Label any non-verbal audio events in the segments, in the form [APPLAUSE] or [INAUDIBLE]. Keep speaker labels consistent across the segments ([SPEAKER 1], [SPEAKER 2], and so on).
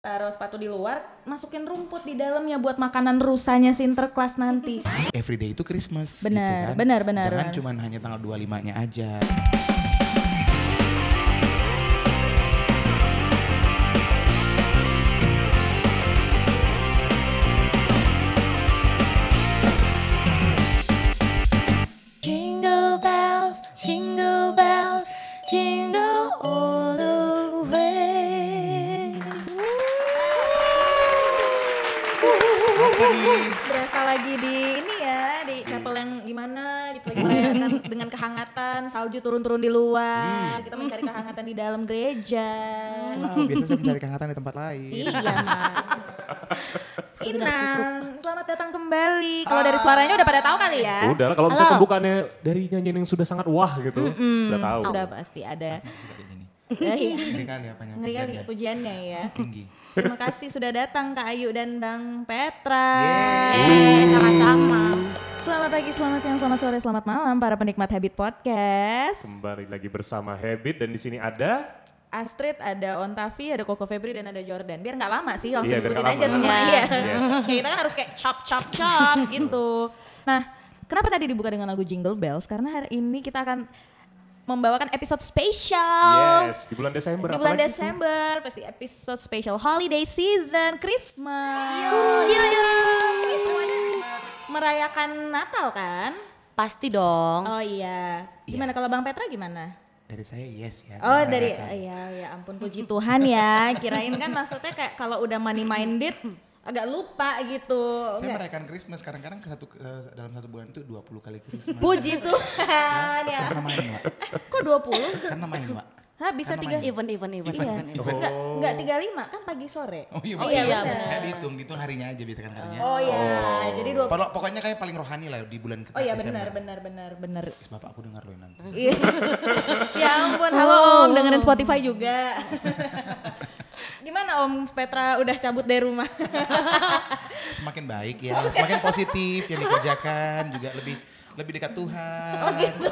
[SPEAKER 1] taruh sepatu di luar, masukin rumput di dalamnya buat makanan rusanya si interclass nanti.
[SPEAKER 2] everyday itu Christmas gitu
[SPEAKER 1] Benar,
[SPEAKER 2] kan.
[SPEAKER 1] benar, benar,
[SPEAKER 2] Jangan
[SPEAKER 1] benar.
[SPEAKER 2] cuman hanya tanggal 25-nya aja.
[SPEAKER 3] Jingle bells, jingle bells, jingle all the way.
[SPEAKER 1] Berasa lagi di ini ya, di chapel yang gimana gitu lagi merayakan dengan kehangatan, salju turun-turun di luar, kita mencari kehangatan di dalam gereja.
[SPEAKER 2] Wow, biasa saya mencari kehangatan di tempat lain.
[SPEAKER 1] Iya, Mas. Inang, selamat datang kembali. Kalau dari suaranya udah pada tahu kali ya.
[SPEAKER 4] Udah lah, kalau
[SPEAKER 3] Halo.
[SPEAKER 4] misalnya bukannya dari nyanyian yang sudah sangat wah gitu, sudah tahu.
[SPEAKER 1] Sudah pasti ada.
[SPEAKER 2] Nah, Seperti ini.
[SPEAKER 1] Eh, iya.
[SPEAKER 2] Ngeri kali ya, apa nyampe
[SPEAKER 1] Ngeri kali pujiannya ya.
[SPEAKER 2] tinggi.
[SPEAKER 1] Terima kasih sudah datang Kak Ayu dan Bang Petra.
[SPEAKER 3] Eh, sama-sama.
[SPEAKER 1] Selamat pagi, selamat siang, selamat sore, selamat malam para penikmat Habit Podcast.
[SPEAKER 4] Kembali lagi bersama Habit dan di sini ada
[SPEAKER 1] Astrid, ada Ontavi, ada Koko Febri, dan ada Jordan. Biar nggak lama sih, langsung
[SPEAKER 4] Iya, biar
[SPEAKER 1] disebutin
[SPEAKER 4] nggak
[SPEAKER 1] aja
[SPEAKER 4] lama.
[SPEAKER 1] semua. Iya.
[SPEAKER 3] Iya.
[SPEAKER 4] Yes.
[SPEAKER 1] [LAUGHS] Kayak kita kan harus kayak chop, chop,
[SPEAKER 4] [LAUGHS]
[SPEAKER 1] chop gitu. Nah, kenapa tadi dibuka dengan lagu Jingle Bells? Karena hari ini kita akan membawakan episode spesial.
[SPEAKER 4] Yes, di bulan Desember
[SPEAKER 1] Di bulan
[SPEAKER 4] apalagi tuh?
[SPEAKER 1] Desember, pasti episode special holiday season, Christmas. Ini semuanya Merayakan Natal kan?
[SPEAKER 3] Pasti dong.
[SPEAKER 1] Oh iya. Gimana kalau Bang Petra gimana?
[SPEAKER 2] Dari saya yes ya.
[SPEAKER 1] Oh
[SPEAKER 2] saya
[SPEAKER 1] dari,
[SPEAKER 2] merayakan.
[SPEAKER 1] iya ya ampun puji Tuhan ya. Kirain kan maksudnya kayak kalau udah money minded agak lupa gitu.
[SPEAKER 2] Saya
[SPEAKER 1] Enggak.
[SPEAKER 2] merayakan Christmas kadang-kadang ke satu eh, dalam satu bulan itu 20 kali Christmas.
[SPEAKER 1] Puji Tuhan ya.
[SPEAKER 2] Karena main, Wak.
[SPEAKER 1] Eh kok 20?
[SPEAKER 2] Karena main, Wak.
[SPEAKER 1] Hah bisa
[SPEAKER 2] Karena
[SPEAKER 1] tiga?
[SPEAKER 2] main.
[SPEAKER 3] Even, even, even,
[SPEAKER 1] Iya.
[SPEAKER 3] even, even.
[SPEAKER 1] Enggak, enggak 35 kan pagi sore.
[SPEAKER 2] Oh iya,
[SPEAKER 3] Oh
[SPEAKER 2] bener.
[SPEAKER 3] iya,
[SPEAKER 2] Nggak
[SPEAKER 3] bener.
[SPEAKER 2] dihitung, dihitung harinya aja biasanya kan harinya.
[SPEAKER 1] Oh iya, jadi 20.
[SPEAKER 2] Pokok- Pokoknya kayak paling rohani lah di bulan ke-
[SPEAKER 1] Oh iya
[SPEAKER 2] Desember.
[SPEAKER 1] benar benar benar benar.
[SPEAKER 2] Is, Bapak aku dengar loh nanti.
[SPEAKER 1] Iya. [LAUGHS] ya ampun, halo Om, dengerin Spotify juga. [LAUGHS] Gimana Om Petra udah cabut dari rumah?
[SPEAKER 2] Semakin baik ya, semakin positif yang dikerjakan juga lebih lebih dekat Tuhan. Oh [LAUGHS] gitu.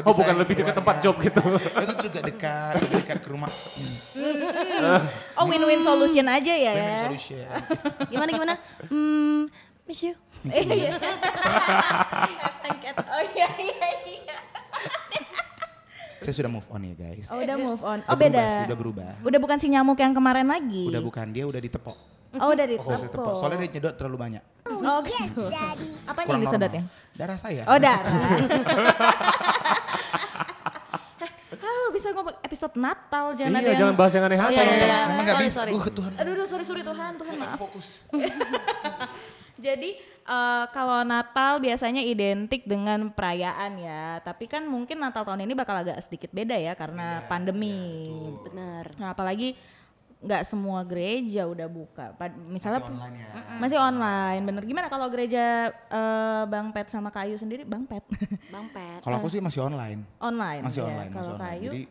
[SPEAKER 4] Oh, bukan lebih dekat tempat job gitu.
[SPEAKER 2] Itu juga dekat, lebih dekat ke rumah. Hmm,
[SPEAKER 1] Oh win-win solution aja ya.
[SPEAKER 2] win-win solution.
[SPEAKER 3] Gimana, gimana? Hmm, miss you.
[SPEAKER 1] Eh, iya. oh iya iya iya.
[SPEAKER 2] Saya sudah move on ya guys.
[SPEAKER 1] Oh udah move on. Oh
[SPEAKER 2] Udah berubah
[SPEAKER 1] beda.
[SPEAKER 2] sih, udah berubah.
[SPEAKER 1] Udah bukan si nyamuk yang kemarin lagi.
[SPEAKER 2] Udah bukan dia, udah ditepok.
[SPEAKER 1] Oh udah
[SPEAKER 2] Udah ditepok.
[SPEAKER 1] ditepok.
[SPEAKER 2] Soalnya dia nyedot terlalu banyak.
[SPEAKER 1] Oh gitu. Apa yang
[SPEAKER 2] Kurang
[SPEAKER 1] disedot ya?
[SPEAKER 2] normal. Darah saya.
[SPEAKER 1] Oh
[SPEAKER 2] [LAUGHS]
[SPEAKER 1] darah. Halo bisa ngomong episode Natal jangan ada
[SPEAKER 4] Iya,
[SPEAKER 1] yang Oh,
[SPEAKER 4] jangan bahas yang aneh-aneh.
[SPEAKER 3] iya, iya.
[SPEAKER 2] Emang nggak
[SPEAKER 3] Sorry,
[SPEAKER 2] bisa.
[SPEAKER 3] sorry.
[SPEAKER 2] Uh, Tuhan.
[SPEAKER 1] Aduh, aduh, sorry, sorry Tuhan, Tuhan
[SPEAKER 2] Tuhan,
[SPEAKER 1] maaf.
[SPEAKER 2] fokus.
[SPEAKER 1] Jadi eh, kalau Natal biasanya identik dengan perayaan ya, tapi kan mungkin Natal tahun ini bakal agak sedikit beda ya karena pandemi.
[SPEAKER 2] iya,
[SPEAKER 3] Bener.
[SPEAKER 1] nah, apalagi nggak semua gereja udah buka. Pad- misalnya
[SPEAKER 2] Masih online ya.
[SPEAKER 1] masih online, bener. Gimana kalau gereja eh, Bang Pet sama Kayu sendiri, Bang Pet [LAUGHS]
[SPEAKER 3] Bang Pet.
[SPEAKER 2] Kalau aku sih masih online.
[SPEAKER 1] online?
[SPEAKER 2] Masih
[SPEAKER 1] ya.
[SPEAKER 2] online, masih
[SPEAKER 1] Kalau
[SPEAKER 2] online.
[SPEAKER 1] Kayu,
[SPEAKER 2] Jadi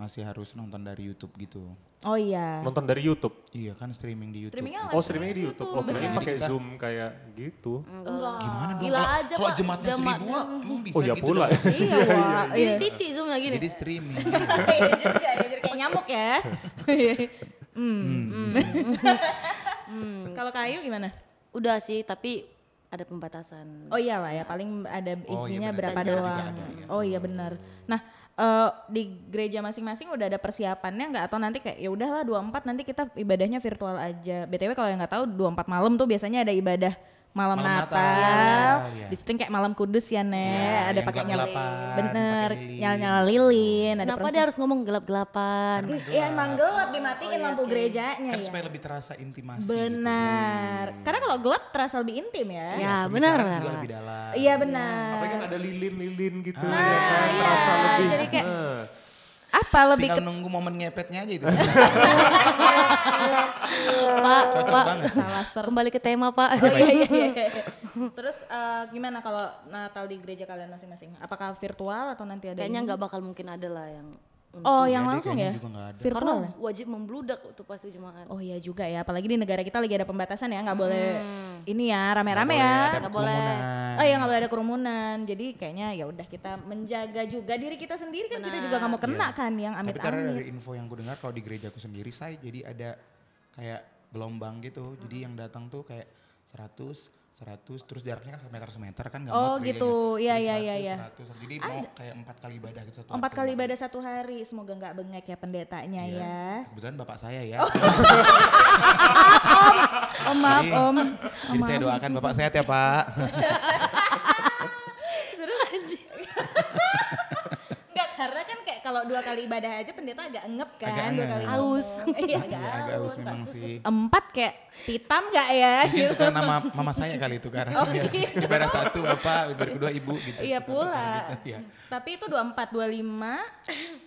[SPEAKER 2] masih harus nonton dari YouTube gitu.
[SPEAKER 1] oh iya.
[SPEAKER 4] Nonton dari YouTube.
[SPEAKER 2] Iya kan streaming di YouTube.
[SPEAKER 1] Streamingnya
[SPEAKER 4] Oh,
[SPEAKER 1] online.
[SPEAKER 4] streamingnya di YouTube. Oh, kirain
[SPEAKER 2] benar.
[SPEAKER 4] pakai
[SPEAKER 2] Jadi kita-
[SPEAKER 4] Zoom kayak gitu.
[SPEAKER 1] Mm.
[SPEAKER 3] Enggak.
[SPEAKER 2] Gimana dong?
[SPEAKER 3] Gila
[SPEAKER 2] kalau-
[SPEAKER 3] aja,
[SPEAKER 2] Kalau
[SPEAKER 3] Pak.
[SPEAKER 2] jematnya
[SPEAKER 3] Jemat.
[SPEAKER 2] seribu, emang bisa
[SPEAKER 4] Oh, ya
[SPEAKER 2] gitu
[SPEAKER 4] pula.
[SPEAKER 2] dong. [LAUGHS]
[SPEAKER 1] Iya, wah,
[SPEAKER 3] Iya. Titik zoom lagi nih.
[SPEAKER 2] Jadi
[SPEAKER 1] [LAUGHS]
[SPEAKER 2] streaming.
[SPEAKER 1] Iya juga ya, jadi kayak nyamuk [LAUGHS] ya.
[SPEAKER 2] Hmm.
[SPEAKER 1] Kalau kayu gimana?
[SPEAKER 3] Hmm, Udah sih, tapi ada pembatasan.
[SPEAKER 1] Oh iyalah ya, paling ada
[SPEAKER 2] Oh iya
[SPEAKER 1] isinya
[SPEAKER 2] benar,
[SPEAKER 1] berapa
[SPEAKER 2] juga
[SPEAKER 1] doang.
[SPEAKER 2] ada, iya.
[SPEAKER 1] Oh iya benar. Nah, eh, di gereja masing-masing udah ada persiapannya nggak atau nanti kayak ya udahlah 24 nanti kita ibadahnya virtual aja. BTW kalau yang nggak tahu 24 malam tuh biasanya ada ibadah malam,
[SPEAKER 2] Malam
[SPEAKER 1] Natal.
[SPEAKER 2] Natal, iya.
[SPEAKER 1] Di situ kayak malam kudus ya, Ne.
[SPEAKER 2] Iya,
[SPEAKER 1] ada
[SPEAKER 2] yang
[SPEAKER 1] pakai nyala
[SPEAKER 2] gelap-gelapan,
[SPEAKER 1] bener,
[SPEAKER 2] pakai lilin.
[SPEAKER 1] nyala-nyala lilin, ada
[SPEAKER 3] Kenapa
[SPEAKER 1] proses-
[SPEAKER 3] iya, dia harus ngomong gelap-gelapan?
[SPEAKER 1] Iya, emang gelap dimatiin lampu gerejanya
[SPEAKER 2] Oh, iya, Kan gitu.
[SPEAKER 1] ya.
[SPEAKER 2] supaya lebih terasa intimasi
[SPEAKER 1] Benar. Karena kalau gelap terasa lebih intim ya.
[SPEAKER 3] Ya,
[SPEAKER 2] gitu.
[SPEAKER 3] benar.
[SPEAKER 2] Pembicaraan juga
[SPEAKER 3] benar.
[SPEAKER 2] lebih dalam.
[SPEAKER 1] Iya benar.
[SPEAKER 4] Apalagi kan ada lilin-lilin gitu.
[SPEAKER 2] Ah,
[SPEAKER 4] ya kan,
[SPEAKER 1] iya.
[SPEAKER 4] Terasa lebih.
[SPEAKER 1] Jadi
[SPEAKER 4] [LAUGHS]
[SPEAKER 1] kayak-
[SPEAKER 4] Nah,
[SPEAKER 1] Apa lebih
[SPEAKER 2] Tinggal
[SPEAKER 1] ke Iya,
[SPEAKER 2] nunggu momen ngepetnya aja itu.
[SPEAKER 3] Pak, Oh,
[SPEAKER 2] Cocok
[SPEAKER 3] Pak.
[SPEAKER 2] banget.
[SPEAKER 1] salah ser
[SPEAKER 3] Kembali ke tema, Pak.
[SPEAKER 1] Iya, iya, iya. [LAUGHS] Terus eh, gimana kalau Natal di gereja kalian masing-masing? Apakah virtual atau nanti ada?
[SPEAKER 3] Kayaknya
[SPEAKER 1] ini?
[SPEAKER 3] nggak bakal mungkin ada lah yang hmm,
[SPEAKER 1] Oh,
[SPEAKER 2] Iya
[SPEAKER 1] yang
[SPEAKER 2] deh,
[SPEAKER 1] langsung
[SPEAKER 2] kayaknya
[SPEAKER 1] ya?
[SPEAKER 2] juga nggak ada.
[SPEAKER 1] Virtual.
[SPEAKER 3] karena
[SPEAKER 1] ya?
[SPEAKER 3] wajib membludak tuh pasti jemaat.
[SPEAKER 1] Oh iya juga ya, apalagi di negara kita lagi ada pembatasan ya, nggak boleh ini ya rame-rame
[SPEAKER 2] Boleh,
[SPEAKER 1] ya.
[SPEAKER 2] ada
[SPEAKER 3] Nggak boleh.
[SPEAKER 2] kerumunan.
[SPEAKER 1] Oh iya nggak boleh ada kerumunan. Jadi kayaknya ya udah kita menjaga juga diri kita sendiri kan kita juga nggak mau kena kan yang
[SPEAKER 2] Iya. Tapi karena
[SPEAKER 1] amit-amit.
[SPEAKER 2] dari info yang gue dengar kalau di gerejaku sendiri saya jadi ada kayak gelombang gitu. Jadi yang datang tuh kayak 100, 100 terus jaraknya kan semeter semeter kan nggak
[SPEAKER 1] Oh,
[SPEAKER 2] muat
[SPEAKER 1] gitu. Iya, iya, iya, iya.
[SPEAKER 2] 100, 100. Jadi mau kayak empat kali ibadah gitu satu.
[SPEAKER 1] Empat
[SPEAKER 2] hari.
[SPEAKER 1] kali ibadah satu hari, semoga nggak bengek ya pendetanya
[SPEAKER 2] Iya.
[SPEAKER 1] ya.
[SPEAKER 2] Kebetulan bapak saya
[SPEAKER 1] [LAUGHS]
[SPEAKER 2] ya.
[SPEAKER 1] Oh, Om maaf
[SPEAKER 2] Jadi-
[SPEAKER 1] om.
[SPEAKER 2] Jadi saya doakan bapak sehat
[SPEAKER 1] [LAUGHS]
[SPEAKER 2] ya
[SPEAKER 1] Iya,
[SPEAKER 2] pak.
[SPEAKER 1] Enggak karena kan kayak kalau dua kali ibadah aja pendeta agak ngep kan,
[SPEAKER 2] Agak
[SPEAKER 1] dua
[SPEAKER 2] ngep.
[SPEAKER 1] kali
[SPEAKER 3] Aus.
[SPEAKER 1] ngomong. [LAUGHS] Iya agak
[SPEAKER 2] [LAUGHS] Iya agak
[SPEAKER 1] aus.
[SPEAKER 2] halus memang Iya, sih.
[SPEAKER 1] Empat kayak pitam nggak ya?
[SPEAKER 2] Mungkin itu karena nama mama saya kali itu karena
[SPEAKER 1] Oh,
[SPEAKER 2] dia
[SPEAKER 1] iya.
[SPEAKER 2] ibadah satu bapak, ibadah kedua ibu gitu.
[SPEAKER 1] [LAUGHS] Iya
[SPEAKER 2] Itu kan
[SPEAKER 1] pula.
[SPEAKER 2] gitu, Iya.
[SPEAKER 1] Tapi itu 24,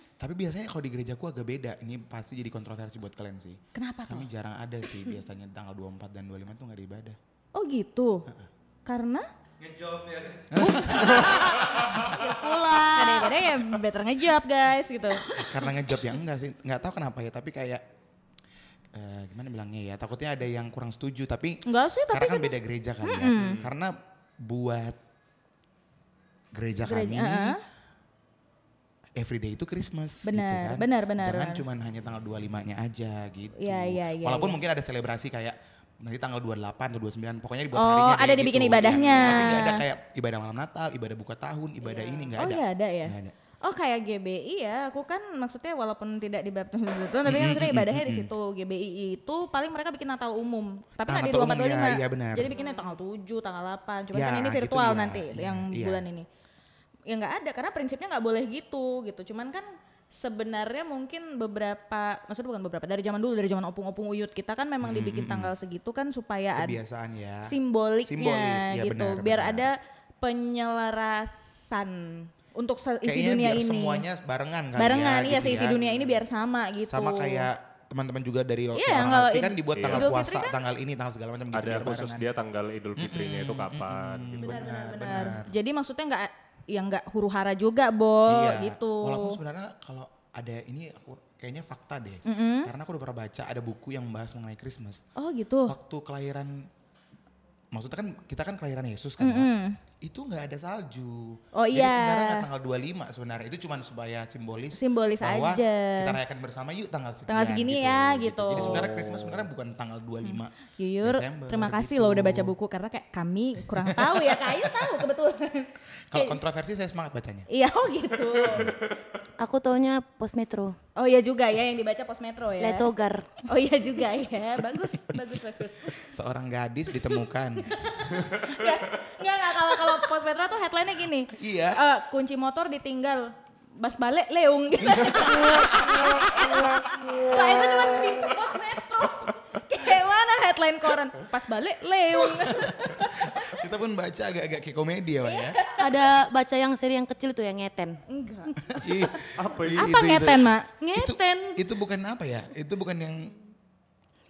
[SPEAKER 1] 25.
[SPEAKER 2] Tapi biasanya kalau di gerejaku agak beda. Ini pasti jadi kontroversi buat kalian sih.
[SPEAKER 1] Kenapa tuh?
[SPEAKER 2] Kami jarang ada sih biasanya tanggal 24 dan 25 tuh nggak ada ibadah.
[SPEAKER 1] Oh gitu. Karena
[SPEAKER 3] Pula.
[SPEAKER 1] Iya kadang-kadang ya better ngejawab guys gitu.
[SPEAKER 2] Karena ngejob ya enggak sih. Nggak tahu kenapa ya, tapi kayak eh, gimana bilangnya ya, takutnya ada yang kurang setuju tapi
[SPEAKER 1] Enggak sih tapi Hmm.
[SPEAKER 2] karena kan beda gereja kali ya. Karena buat gereja,
[SPEAKER 1] Gereja, eh,
[SPEAKER 2] kami
[SPEAKER 1] heeh.
[SPEAKER 2] everyday itu Christmas gitu
[SPEAKER 1] Benar,
[SPEAKER 2] kan.
[SPEAKER 1] benar, benar,
[SPEAKER 2] Jangan
[SPEAKER 1] benar.
[SPEAKER 2] cuman hanya tanggal 25-nya aja gitu.
[SPEAKER 1] Iya, iya, iya,
[SPEAKER 2] Walaupun
[SPEAKER 1] iya.
[SPEAKER 2] mungkin ada selebrasi kayak nanti tanggal 28 atau 29 pokoknya dibuat
[SPEAKER 1] Oh,
[SPEAKER 2] harinya
[SPEAKER 1] ada
[SPEAKER 2] kayak
[SPEAKER 1] dibikin
[SPEAKER 2] gitu,
[SPEAKER 1] ibadahnya.
[SPEAKER 2] Iya. Tapi nggak ada kayak ibadah malam Natal, ibadah buka tahun, ibadah ini nggak
[SPEAKER 1] oh
[SPEAKER 2] ada.
[SPEAKER 1] iya ada ya.
[SPEAKER 2] Nggak ada.
[SPEAKER 1] Oh kayak GBI ya, aku kan maksudnya walaupun tidak dibaptis di situ, tapi kan maksudnya ibadahnya di situ. GBI itu paling mereka bikin Natal umum, tapi nggak di
[SPEAKER 2] Natal
[SPEAKER 1] 24
[SPEAKER 2] umum, iya,
[SPEAKER 1] 25.
[SPEAKER 2] iya, benar.
[SPEAKER 1] Jadi bikinnya tanggal 7, tanggal 8. Cuma
[SPEAKER 2] Ya,
[SPEAKER 1] kan ini
[SPEAKER 2] gitu
[SPEAKER 1] virtual
[SPEAKER 2] dia,
[SPEAKER 1] nanti
[SPEAKER 2] iya,
[SPEAKER 1] yang
[SPEAKER 2] iya.
[SPEAKER 1] bulan ini. Ya nggak ada karena prinsipnya nggak boleh gitu gitu. Cuman kan sebenarnya mungkin beberapa, maksudnya bukan beberapa, dari zaman dulu dari zaman opung-opung uyut kita kan memang dibikin tanggal segitu kan supaya ada
[SPEAKER 2] Kebiasaan ya.
[SPEAKER 1] simboliknya
[SPEAKER 2] Simbolis, ya
[SPEAKER 1] gitu
[SPEAKER 2] benar,
[SPEAKER 1] biar
[SPEAKER 2] benar.
[SPEAKER 1] ada penyelarasan untuk se- isi
[SPEAKER 2] Kayaknya
[SPEAKER 1] dunia
[SPEAKER 2] biar
[SPEAKER 1] ini
[SPEAKER 2] semuanya barengan kali
[SPEAKER 1] barengan
[SPEAKER 2] ya.
[SPEAKER 1] iya
[SPEAKER 2] gitu
[SPEAKER 1] sih isi
[SPEAKER 2] ya.
[SPEAKER 1] dunia ini biar sama gitu
[SPEAKER 2] Sama kayak teman-teman juga dari
[SPEAKER 1] Iya,
[SPEAKER 2] orang
[SPEAKER 1] kalau
[SPEAKER 2] Alfi
[SPEAKER 1] Id-
[SPEAKER 2] kan dibuat
[SPEAKER 4] Iya.
[SPEAKER 2] tanggal
[SPEAKER 1] Idul Fitri
[SPEAKER 2] puasa,
[SPEAKER 1] kan-
[SPEAKER 2] tanggal ini, tanggal segala macam gitu.
[SPEAKER 4] Ada
[SPEAKER 2] biar
[SPEAKER 4] khusus
[SPEAKER 2] barengan.
[SPEAKER 4] dia tanggal Idul Fitrinya itu kapan gitu.
[SPEAKER 1] benar benar
[SPEAKER 2] Benar,
[SPEAKER 1] benar
[SPEAKER 2] benar.
[SPEAKER 1] jadi maksudnya nggak ya nggak huru hara juga bo gitu
[SPEAKER 2] Iya, Walaupun sebenarnya kalau ada ini aku kayaknya fakta deh. Karena aku udah pernah baca ada buku yang membahas mengenai Christmas.
[SPEAKER 1] oh gitu
[SPEAKER 2] Waktu kelahiran maksudnya kan kita kan kelahiran Yesus kan.
[SPEAKER 1] Hmm.
[SPEAKER 2] Pak? Itu nggak ada salju.
[SPEAKER 1] Oh,
[SPEAKER 2] Jadi
[SPEAKER 1] iya.
[SPEAKER 2] sebenarnya nggak tanggal 25 sebenarnya itu cuma supaya simbolis
[SPEAKER 1] Simbolis
[SPEAKER 2] bahwa
[SPEAKER 1] aja.
[SPEAKER 2] kita rayakan bersama yuk tanggal sekian.
[SPEAKER 1] Tanggal segini ya, gitu. Hmm.
[SPEAKER 2] Jadi sebenarnya Christmas sebenarnya bukan tanggal 25.
[SPEAKER 1] Yuyur,
[SPEAKER 2] Desember,
[SPEAKER 1] terima kasih
[SPEAKER 2] gitu.
[SPEAKER 1] loh udah baca buku karena kayak kami kurang tahu ya kayu tahu kebetulan. [LAUGHS]
[SPEAKER 2] Kalau kontroversi saya semangat bacanya.
[SPEAKER 1] Iya oh gitu.
[SPEAKER 3] Aku taunya pos metro.
[SPEAKER 1] Oh iya juga ya yang dibaca pos metro ya.
[SPEAKER 3] Letogar.
[SPEAKER 1] Oh iya juga ya, bagus, bagus, bagus.
[SPEAKER 2] Seorang gadis
[SPEAKER 1] [LAUGHS]
[SPEAKER 2] ditemukan.
[SPEAKER 1] Nggak, nggak, nggak, kalau kalau Pos Petra tuh headline-nya gini.
[SPEAKER 2] Iya.
[SPEAKER 1] Eh, kunci motor ditinggal, bas balik leung gitu. [LAUGHS] Lah itu cuma di Pos Metro. Kayak mana headline koran? Pas balik leung.
[SPEAKER 2] kita pun baca agak-agak kayak komedi ya, Wan, ya.
[SPEAKER 3] Ada baca yang seri yang kecil tuh yang ngeten.
[SPEAKER 1] Enggak. Iya.
[SPEAKER 2] Ih,
[SPEAKER 4] Apa
[SPEAKER 2] ih,
[SPEAKER 1] Apa
[SPEAKER 2] itu-
[SPEAKER 1] ngeten,
[SPEAKER 2] itu-
[SPEAKER 1] Mak?
[SPEAKER 3] Ngeten.
[SPEAKER 2] Itu, itu bukan apa ya? Itu bukan yang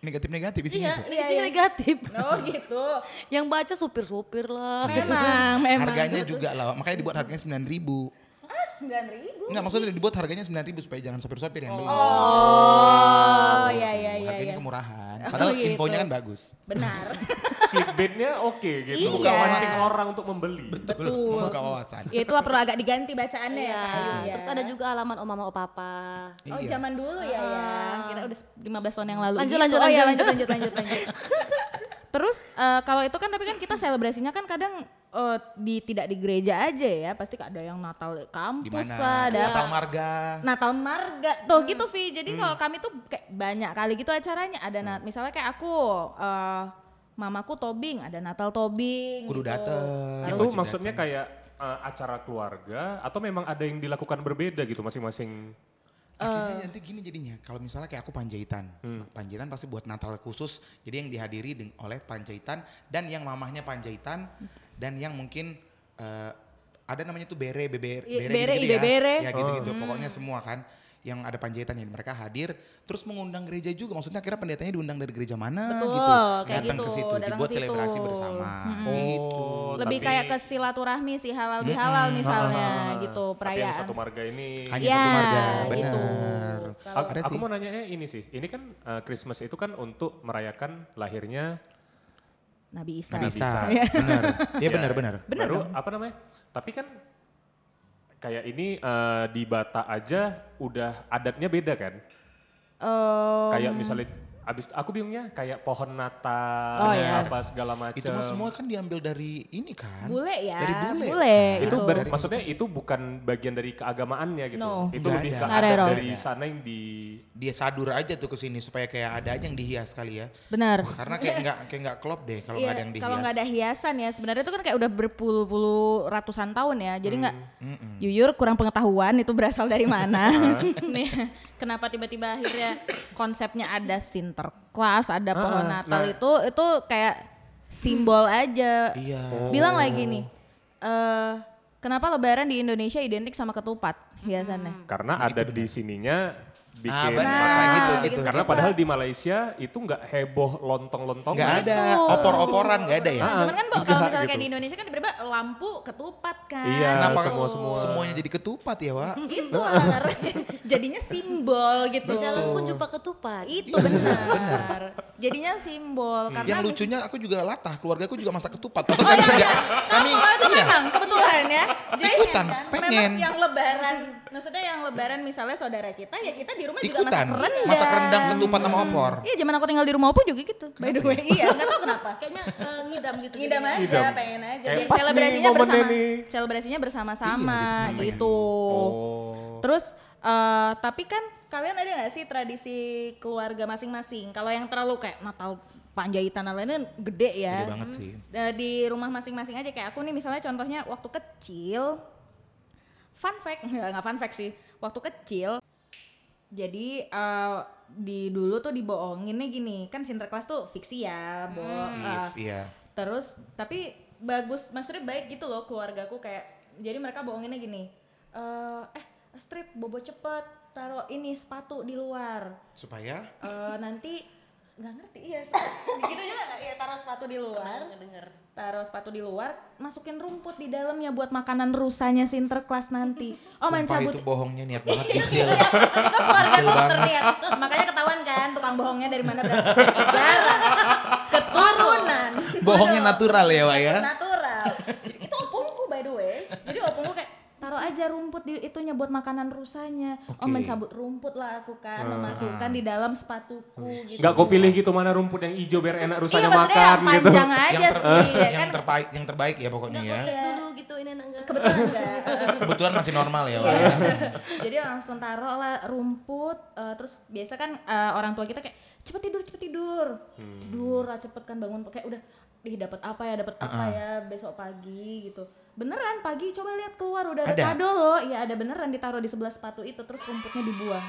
[SPEAKER 2] negatif-negatif
[SPEAKER 3] Iya,
[SPEAKER 2] isinya tuh.
[SPEAKER 1] Iya,
[SPEAKER 3] isinya
[SPEAKER 1] iya.
[SPEAKER 3] negatif.
[SPEAKER 1] Oh gitu.
[SPEAKER 3] Yang baca supir-supir lah.
[SPEAKER 1] Memang, memang.
[SPEAKER 2] Harganya juga lah, makanya dibuat harganya 9 ribu.
[SPEAKER 1] Ah, 9 ribu.
[SPEAKER 2] Enggak, maksudnya dibuat harganya 9 ribu supaya jangan sopir-sopir yang beli.
[SPEAKER 1] Oh, iya, iya, iya.
[SPEAKER 2] harganya
[SPEAKER 1] iya.
[SPEAKER 2] kemurahan. Padahal
[SPEAKER 1] gitu.
[SPEAKER 2] infonya kan bagus.
[SPEAKER 1] Benar.
[SPEAKER 3] [LAUGHS]
[SPEAKER 4] Clickbaitnya oke gitu.
[SPEAKER 1] Iya.
[SPEAKER 4] Bukan mancing orang untuk membeli.
[SPEAKER 2] Betul. Membuka wawasan.
[SPEAKER 1] ya itulah perlu agak diganti bacaannya ya,
[SPEAKER 3] Iya.
[SPEAKER 1] Kak Ayu, ya.
[SPEAKER 3] Terus ada juga alaman om mama opapa.
[SPEAKER 1] Oh
[SPEAKER 2] Iya.
[SPEAKER 1] zaman dulu ya ya, kira udah 15 tahun yang lalu.
[SPEAKER 3] Ah. Lanjut,
[SPEAKER 1] Gitu.
[SPEAKER 3] lanjut,
[SPEAKER 1] oh, ya, lanjut
[SPEAKER 3] lanjut.
[SPEAKER 1] lanjut lanjut lanjut.
[SPEAKER 3] [LAUGHS]
[SPEAKER 1] Terus eh, kalau itu kan tapi kan kita selebrasinya kan kadang eh, di tidak di gereja aja ya, pasti ada yang Natal
[SPEAKER 2] Di
[SPEAKER 1] kampus
[SPEAKER 2] mana?
[SPEAKER 1] lah, ada
[SPEAKER 2] Natal Hmm. Marga.
[SPEAKER 1] Natal marga
[SPEAKER 3] Hmm.
[SPEAKER 1] tuh gitu Vi. Jadi kalau kami tuh kayak banyak kali gitu acaranya ada nat
[SPEAKER 2] Hmm.
[SPEAKER 1] misalnya kayak aku eh, mamaku tobing, ada Natal tobing
[SPEAKER 2] Kudu
[SPEAKER 1] gitu.
[SPEAKER 2] dateng.
[SPEAKER 1] Harus
[SPEAKER 4] Itu
[SPEAKER 2] Wajib
[SPEAKER 4] maksudnya kayak eh, acara keluarga atau memang ada yang dilakukan berbeda gitu masing-masing?
[SPEAKER 1] Eh.
[SPEAKER 2] Akhirnya nanti gini jadinya, kalau misalnya kayak aku Panjaitan,
[SPEAKER 4] Hmm.
[SPEAKER 2] Panjaitan pasti buat Natal khusus, jadi yang dihadiri deng- oleh Panjaitan dan yang mamahnya Panjaitan dan yang mungkin eh, ada namanya tuh bere, beber,
[SPEAKER 1] Iya,
[SPEAKER 2] gitu
[SPEAKER 1] bere, Oh. Hmm.
[SPEAKER 2] gitu ya.
[SPEAKER 1] ibebere.
[SPEAKER 2] ya gitu-gitu, pokoknya semua kan yang ada Panjaitan yang mereka hadir, terus mengundang gereja juga, maksudnya akhirnya pendetanya diundang dari gereja mana
[SPEAKER 1] Betul,
[SPEAKER 2] gitu,
[SPEAKER 1] kayak
[SPEAKER 2] datang ke
[SPEAKER 1] gitu,
[SPEAKER 2] situ,
[SPEAKER 1] datang ke
[SPEAKER 2] dibuat
[SPEAKER 1] situ. Hmm.
[SPEAKER 2] selebrasi bersama, gitu.
[SPEAKER 4] Oh,
[SPEAKER 1] lebih
[SPEAKER 4] tapi- Ah,
[SPEAKER 1] kayak ke silaturahmi sih halal bihalal
[SPEAKER 2] Hmm.
[SPEAKER 1] misalnya
[SPEAKER 2] Ah.
[SPEAKER 1] gitu
[SPEAKER 4] Tapi yang
[SPEAKER 1] perayaan.
[SPEAKER 4] satu marga ini.
[SPEAKER 2] Hanya
[SPEAKER 1] Ya,
[SPEAKER 2] satu marga,
[SPEAKER 1] gitu.
[SPEAKER 2] benar.
[SPEAKER 4] A-
[SPEAKER 2] Ada
[SPEAKER 4] aku
[SPEAKER 2] sih.
[SPEAKER 4] mau nanya ini sih. Ini kan eh, Christmas itu kan untuk merayakan lahirnya
[SPEAKER 1] Nabi Isa.
[SPEAKER 2] Nggak Nah, bisa,
[SPEAKER 4] Nggak
[SPEAKER 2] benar. Iya benar-benar.
[SPEAKER 4] Baru apa namanya? Tapi kan kayak ini eh, di Bata aja udah adatnya beda kan?
[SPEAKER 1] [LAUGHS] Eh,
[SPEAKER 4] Kayak misalnya Abis aku bingungnya kayak pohon natal,
[SPEAKER 1] Oh, iya.
[SPEAKER 4] apa segala macam.
[SPEAKER 2] Itu mah semua kan diambil dari ini kan?
[SPEAKER 1] Bule ya,
[SPEAKER 2] Dari bule.
[SPEAKER 1] bule
[SPEAKER 2] Nah,
[SPEAKER 4] itu
[SPEAKER 1] gitu.
[SPEAKER 4] ber- maksudnya itu bukan bagian dari keagamaannya gitu.
[SPEAKER 1] No.
[SPEAKER 4] Itu
[SPEAKER 2] Nggak
[SPEAKER 4] lebih
[SPEAKER 2] ada.
[SPEAKER 4] ke
[SPEAKER 1] Nggak ada
[SPEAKER 4] adat
[SPEAKER 1] at all.
[SPEAKER 4] dari
[SPEAKER 2] Nggak ada.
[SPEAKER 4] sana yang di
[SPEAKER 2] Dia sadur aja tuh ke sini supaya kayak ada aja yang dihias kali ya.
[SPEAKER 1] Benar.
[SPEAKER 2] Karena kayak nggak kayak nggak klop deh kalau nggak
[SPEAKER 1] Iya,
[SPEAKER 2] ada yang dihias.
[SPEAKER 1] Kalau nggak ada hiasan ya, sebenarnya itu kan kayak udah berpuluh-puluh ratusan tahun ya. Jadi nggak
[SPEAKER 2] Hmm,
[SPEAKER 1] jujur kurang pengetahuan itu berasal dari
[SPEAKER 2] [LAUGHS]
[SPEAKER 1] mana. [LAUGHS] Nih, Kenapa tiba-tiba akhirnya konsepnya ada sinterklas, ada pohon
[SPEAKER 4] Ah,
[SPEAKER 1] Natal
[SPEAKER 4] nah.
[SPEAKER 1] itu itu kayak simbol aja.
[SPEAKER 2] Iya.
[SPEAKER 1] Bilang lagi nih. Eh kenapa lebaran di Indonesia identik sama ketupat hiasannya?
[SPEAKER 2] Hmm.
[SPEAKER 4] karena ada di sininya
[SPEAKER 2] gitu Nah,
[SPEAKER 4] bikin
[SPEAKER 2] benar.
[SPEAKER 4] makanan.
[SPEAKER 1] Nah,
[SPEAKER 2] gitu,
[SPEAKER 1] gitu.
[SPEAKER 2] gitu.
[SPEAKER 4] Karena padahal di Malaysia itu nggak heboh lontong-lontong.
[SPEAKER 2] Nggak ada opor-oporan nggak ada ya.
[SPEAKER 4] Oh, Ah,
[SPEAKER 1] Cuman kan Bu, kalau
[SPEAKER 4] enggak
[SPEAKER 1] misalnya kayak
[SPEAKER 4] gitu.
[SPEAKER 1] di Indonesia kan tiba-tiba lampu ketupat kan.
[SPEAKER 4] Iya,
[SPEAKER 2] Kenapa
[SPEAKER 1] gitu.
[SPEAKER 4] semua-semua.
[SPEAKER 2] semuanya jadi ketupat ya, Wak?
[SPEAKER 1] itu Ar. [LAUGHS] jadinya simbol gitu
[SPEAKER 3] Jalan pun jumpa ketupat.
[SPEAKER 1] itu benar jadinya simbol karena
[SPEAKER 2] Hmm.
[SPEAKER 1] Oh,
[SPEAKER 2] yang
[SPEAKER 1] mis-
[SPEAKER 2] lucunya aku juga latah, keluargaku juga masak ketupat. Tapi kami nggak- kami
[SPEAKER 1] oh itu
[SPEAKER 2] iya,
[SPEAKER 1] memang kebetulan ya jadi
[SPEAKER 2] ikutan, pengen.
[SPEAKER 1] memang yang lebaran maksudnya yang lebaran misalnya saudara kita ya kita di rumah juga
[SPEAKER 2] Ikutan,
[SPEAKER 1] masak rendang
[SPEAKER 2] masak rendang ketupat sama
[SPEAKER 4] Hmm.
[SPEAKER 2] opor.
[SPEAKER 1] iya zaman aku tinggal di rumah opor juga gitu by the way iya nggak tahu kenapa
[SPEAKER 3] Kayaknya eh, [LAUGHS] ngidam gitu.
[SPEAKER 1] ngidam aja
[SPEAKER 4] Ngidam.
[SPEAKER 1] pengen aja
[SPEAKER 4] Kayak
[SPEAKER 1] Jadi
[SPEAKER 4] pas nih
[SPEAKER 1] selebrasinya
[SPEAKER 4] momennya
[SPEAKER 1] bersama
[SPEAKER 4] nih.
[SPEAKER 1] selebrasinya bersama-sama
[SPEAKER 2] Iya, gitu.
[SPEAKER 1] gitu
[SPEAKER 4] Oh.
[SPEAKER 1] Terus eh, tapi kan kalian ada nggak sih tradisi keluarga masing-masing? Kalau yang terlalu kayak Natal Panjaitan dan lain-lain gede ya.
[SPEAKER 2] Gede banget sih.
[SPEAKER 1] Eh, Di rumah masing-masing aja kayak aku nih misalnya contohnya waktu kecil fun fact [LAUGHS] nggak nggak fun fact sih waktu kecil jadi eh, di dulu tuh dibohonginnya gini kan sinterklas tuh fiksi ya bo eh,
[SPEAKER 2] If, iya.
[SPEAKER 1] Terus tapi bagus maksudnya baik gitu loh keluargaku kayak jadi mereka bohonginnya gini. eh eh strip bobo cepet taruh ini sepatu di luar.
[SPEAKER 2] Supaya
[SPEAKER 1] Eh nanti [LAUGHS] nggak ngerti iya sepatu. gitu juga nggak? ya taruh sepatu di luar. Taruh sepatu di luar, masukin rumput di dalamnya buat makanan rusanya sinterklas nanti. Oh main
[SPEAKER 2] Sumpah
[SPEAKER 1] cabut.
[SPEAKER 2] itu bohongnya niat banget Iya. detail.
[SPEAKER 1] [LAUGHS] itu keluarga
[SPEAKER 2] Betul
[SPEAKER 1] dokter
[SPEAKER 2] banget.
[SPEAKER 1] niat. Makanya ketahuan kan tukang bohongnya dari mana berasal. Jarang. Keturunan.
[SPEAKER 2] bohongnya
[SPEAKER 1] Aduh.
[SPEAKER 2] natural ya, Wak ya.
[SPEAKER 1] natural. itu opungku by the way. Jadi opungku kayak taruh aja rumput di itunya buat makanan rusanya. Oh
[SPEAKER 2] Oke.
[SPEAKER 1] mencabut rumput lah aku
[SPEAKER 4] Ah.
[SPEAKER 1] kan, memasukkan di dalam sepatuku gitu.
[SPEAKER 4] Nggak kau pilih gitu mana rumput yang hijau biar enak
[SPEAKER 1] Iya
[SPEAKER 4] rusanya
[SPEAKER 1] maksudnya
[SPEAKER 4] makan
[SPEAKER 1] yang
[SPEAKER 4] gitu. [LAUGHS]
[SPEAKER 1] panjang aja
[SPEAKER 2] Yang, ter-
[SPEAKER 1] sih. ya
[SPEAKER 2] yang
[SPEAKER 1] kan
[SPEAKER 2] terbaik, yang terbaik ya pokoknya ya.
[SPEAKER 3] Tes dulu gitu ini enak enggak?
[SPEAKER 1] kebetulan enggak.
[SPEAKER 2] Kebetulan masih normal ya, Wak. ya.
[SPEAKER 1] Iya. [LAUGHS] Jadi langsung taruh lah rumput, eh, terus biasa kan eh, orang tua kita kayak cepet tidur, cepet tidur,
[SPEAKER 2] Hmm.
[SPEAKER 1] tidur lah cepet kan bangun kayak udah, ih dapat apa ya, dapat apa ya besok pagi gitu. Beneran pagi coba lihat keluar udah ada,
[SPEAKER 2] Ada?
[SPEAKER 1] kado loh, ya ada beneran ditaruh di sebelah sepatu itu, terus rumputnya dibuang.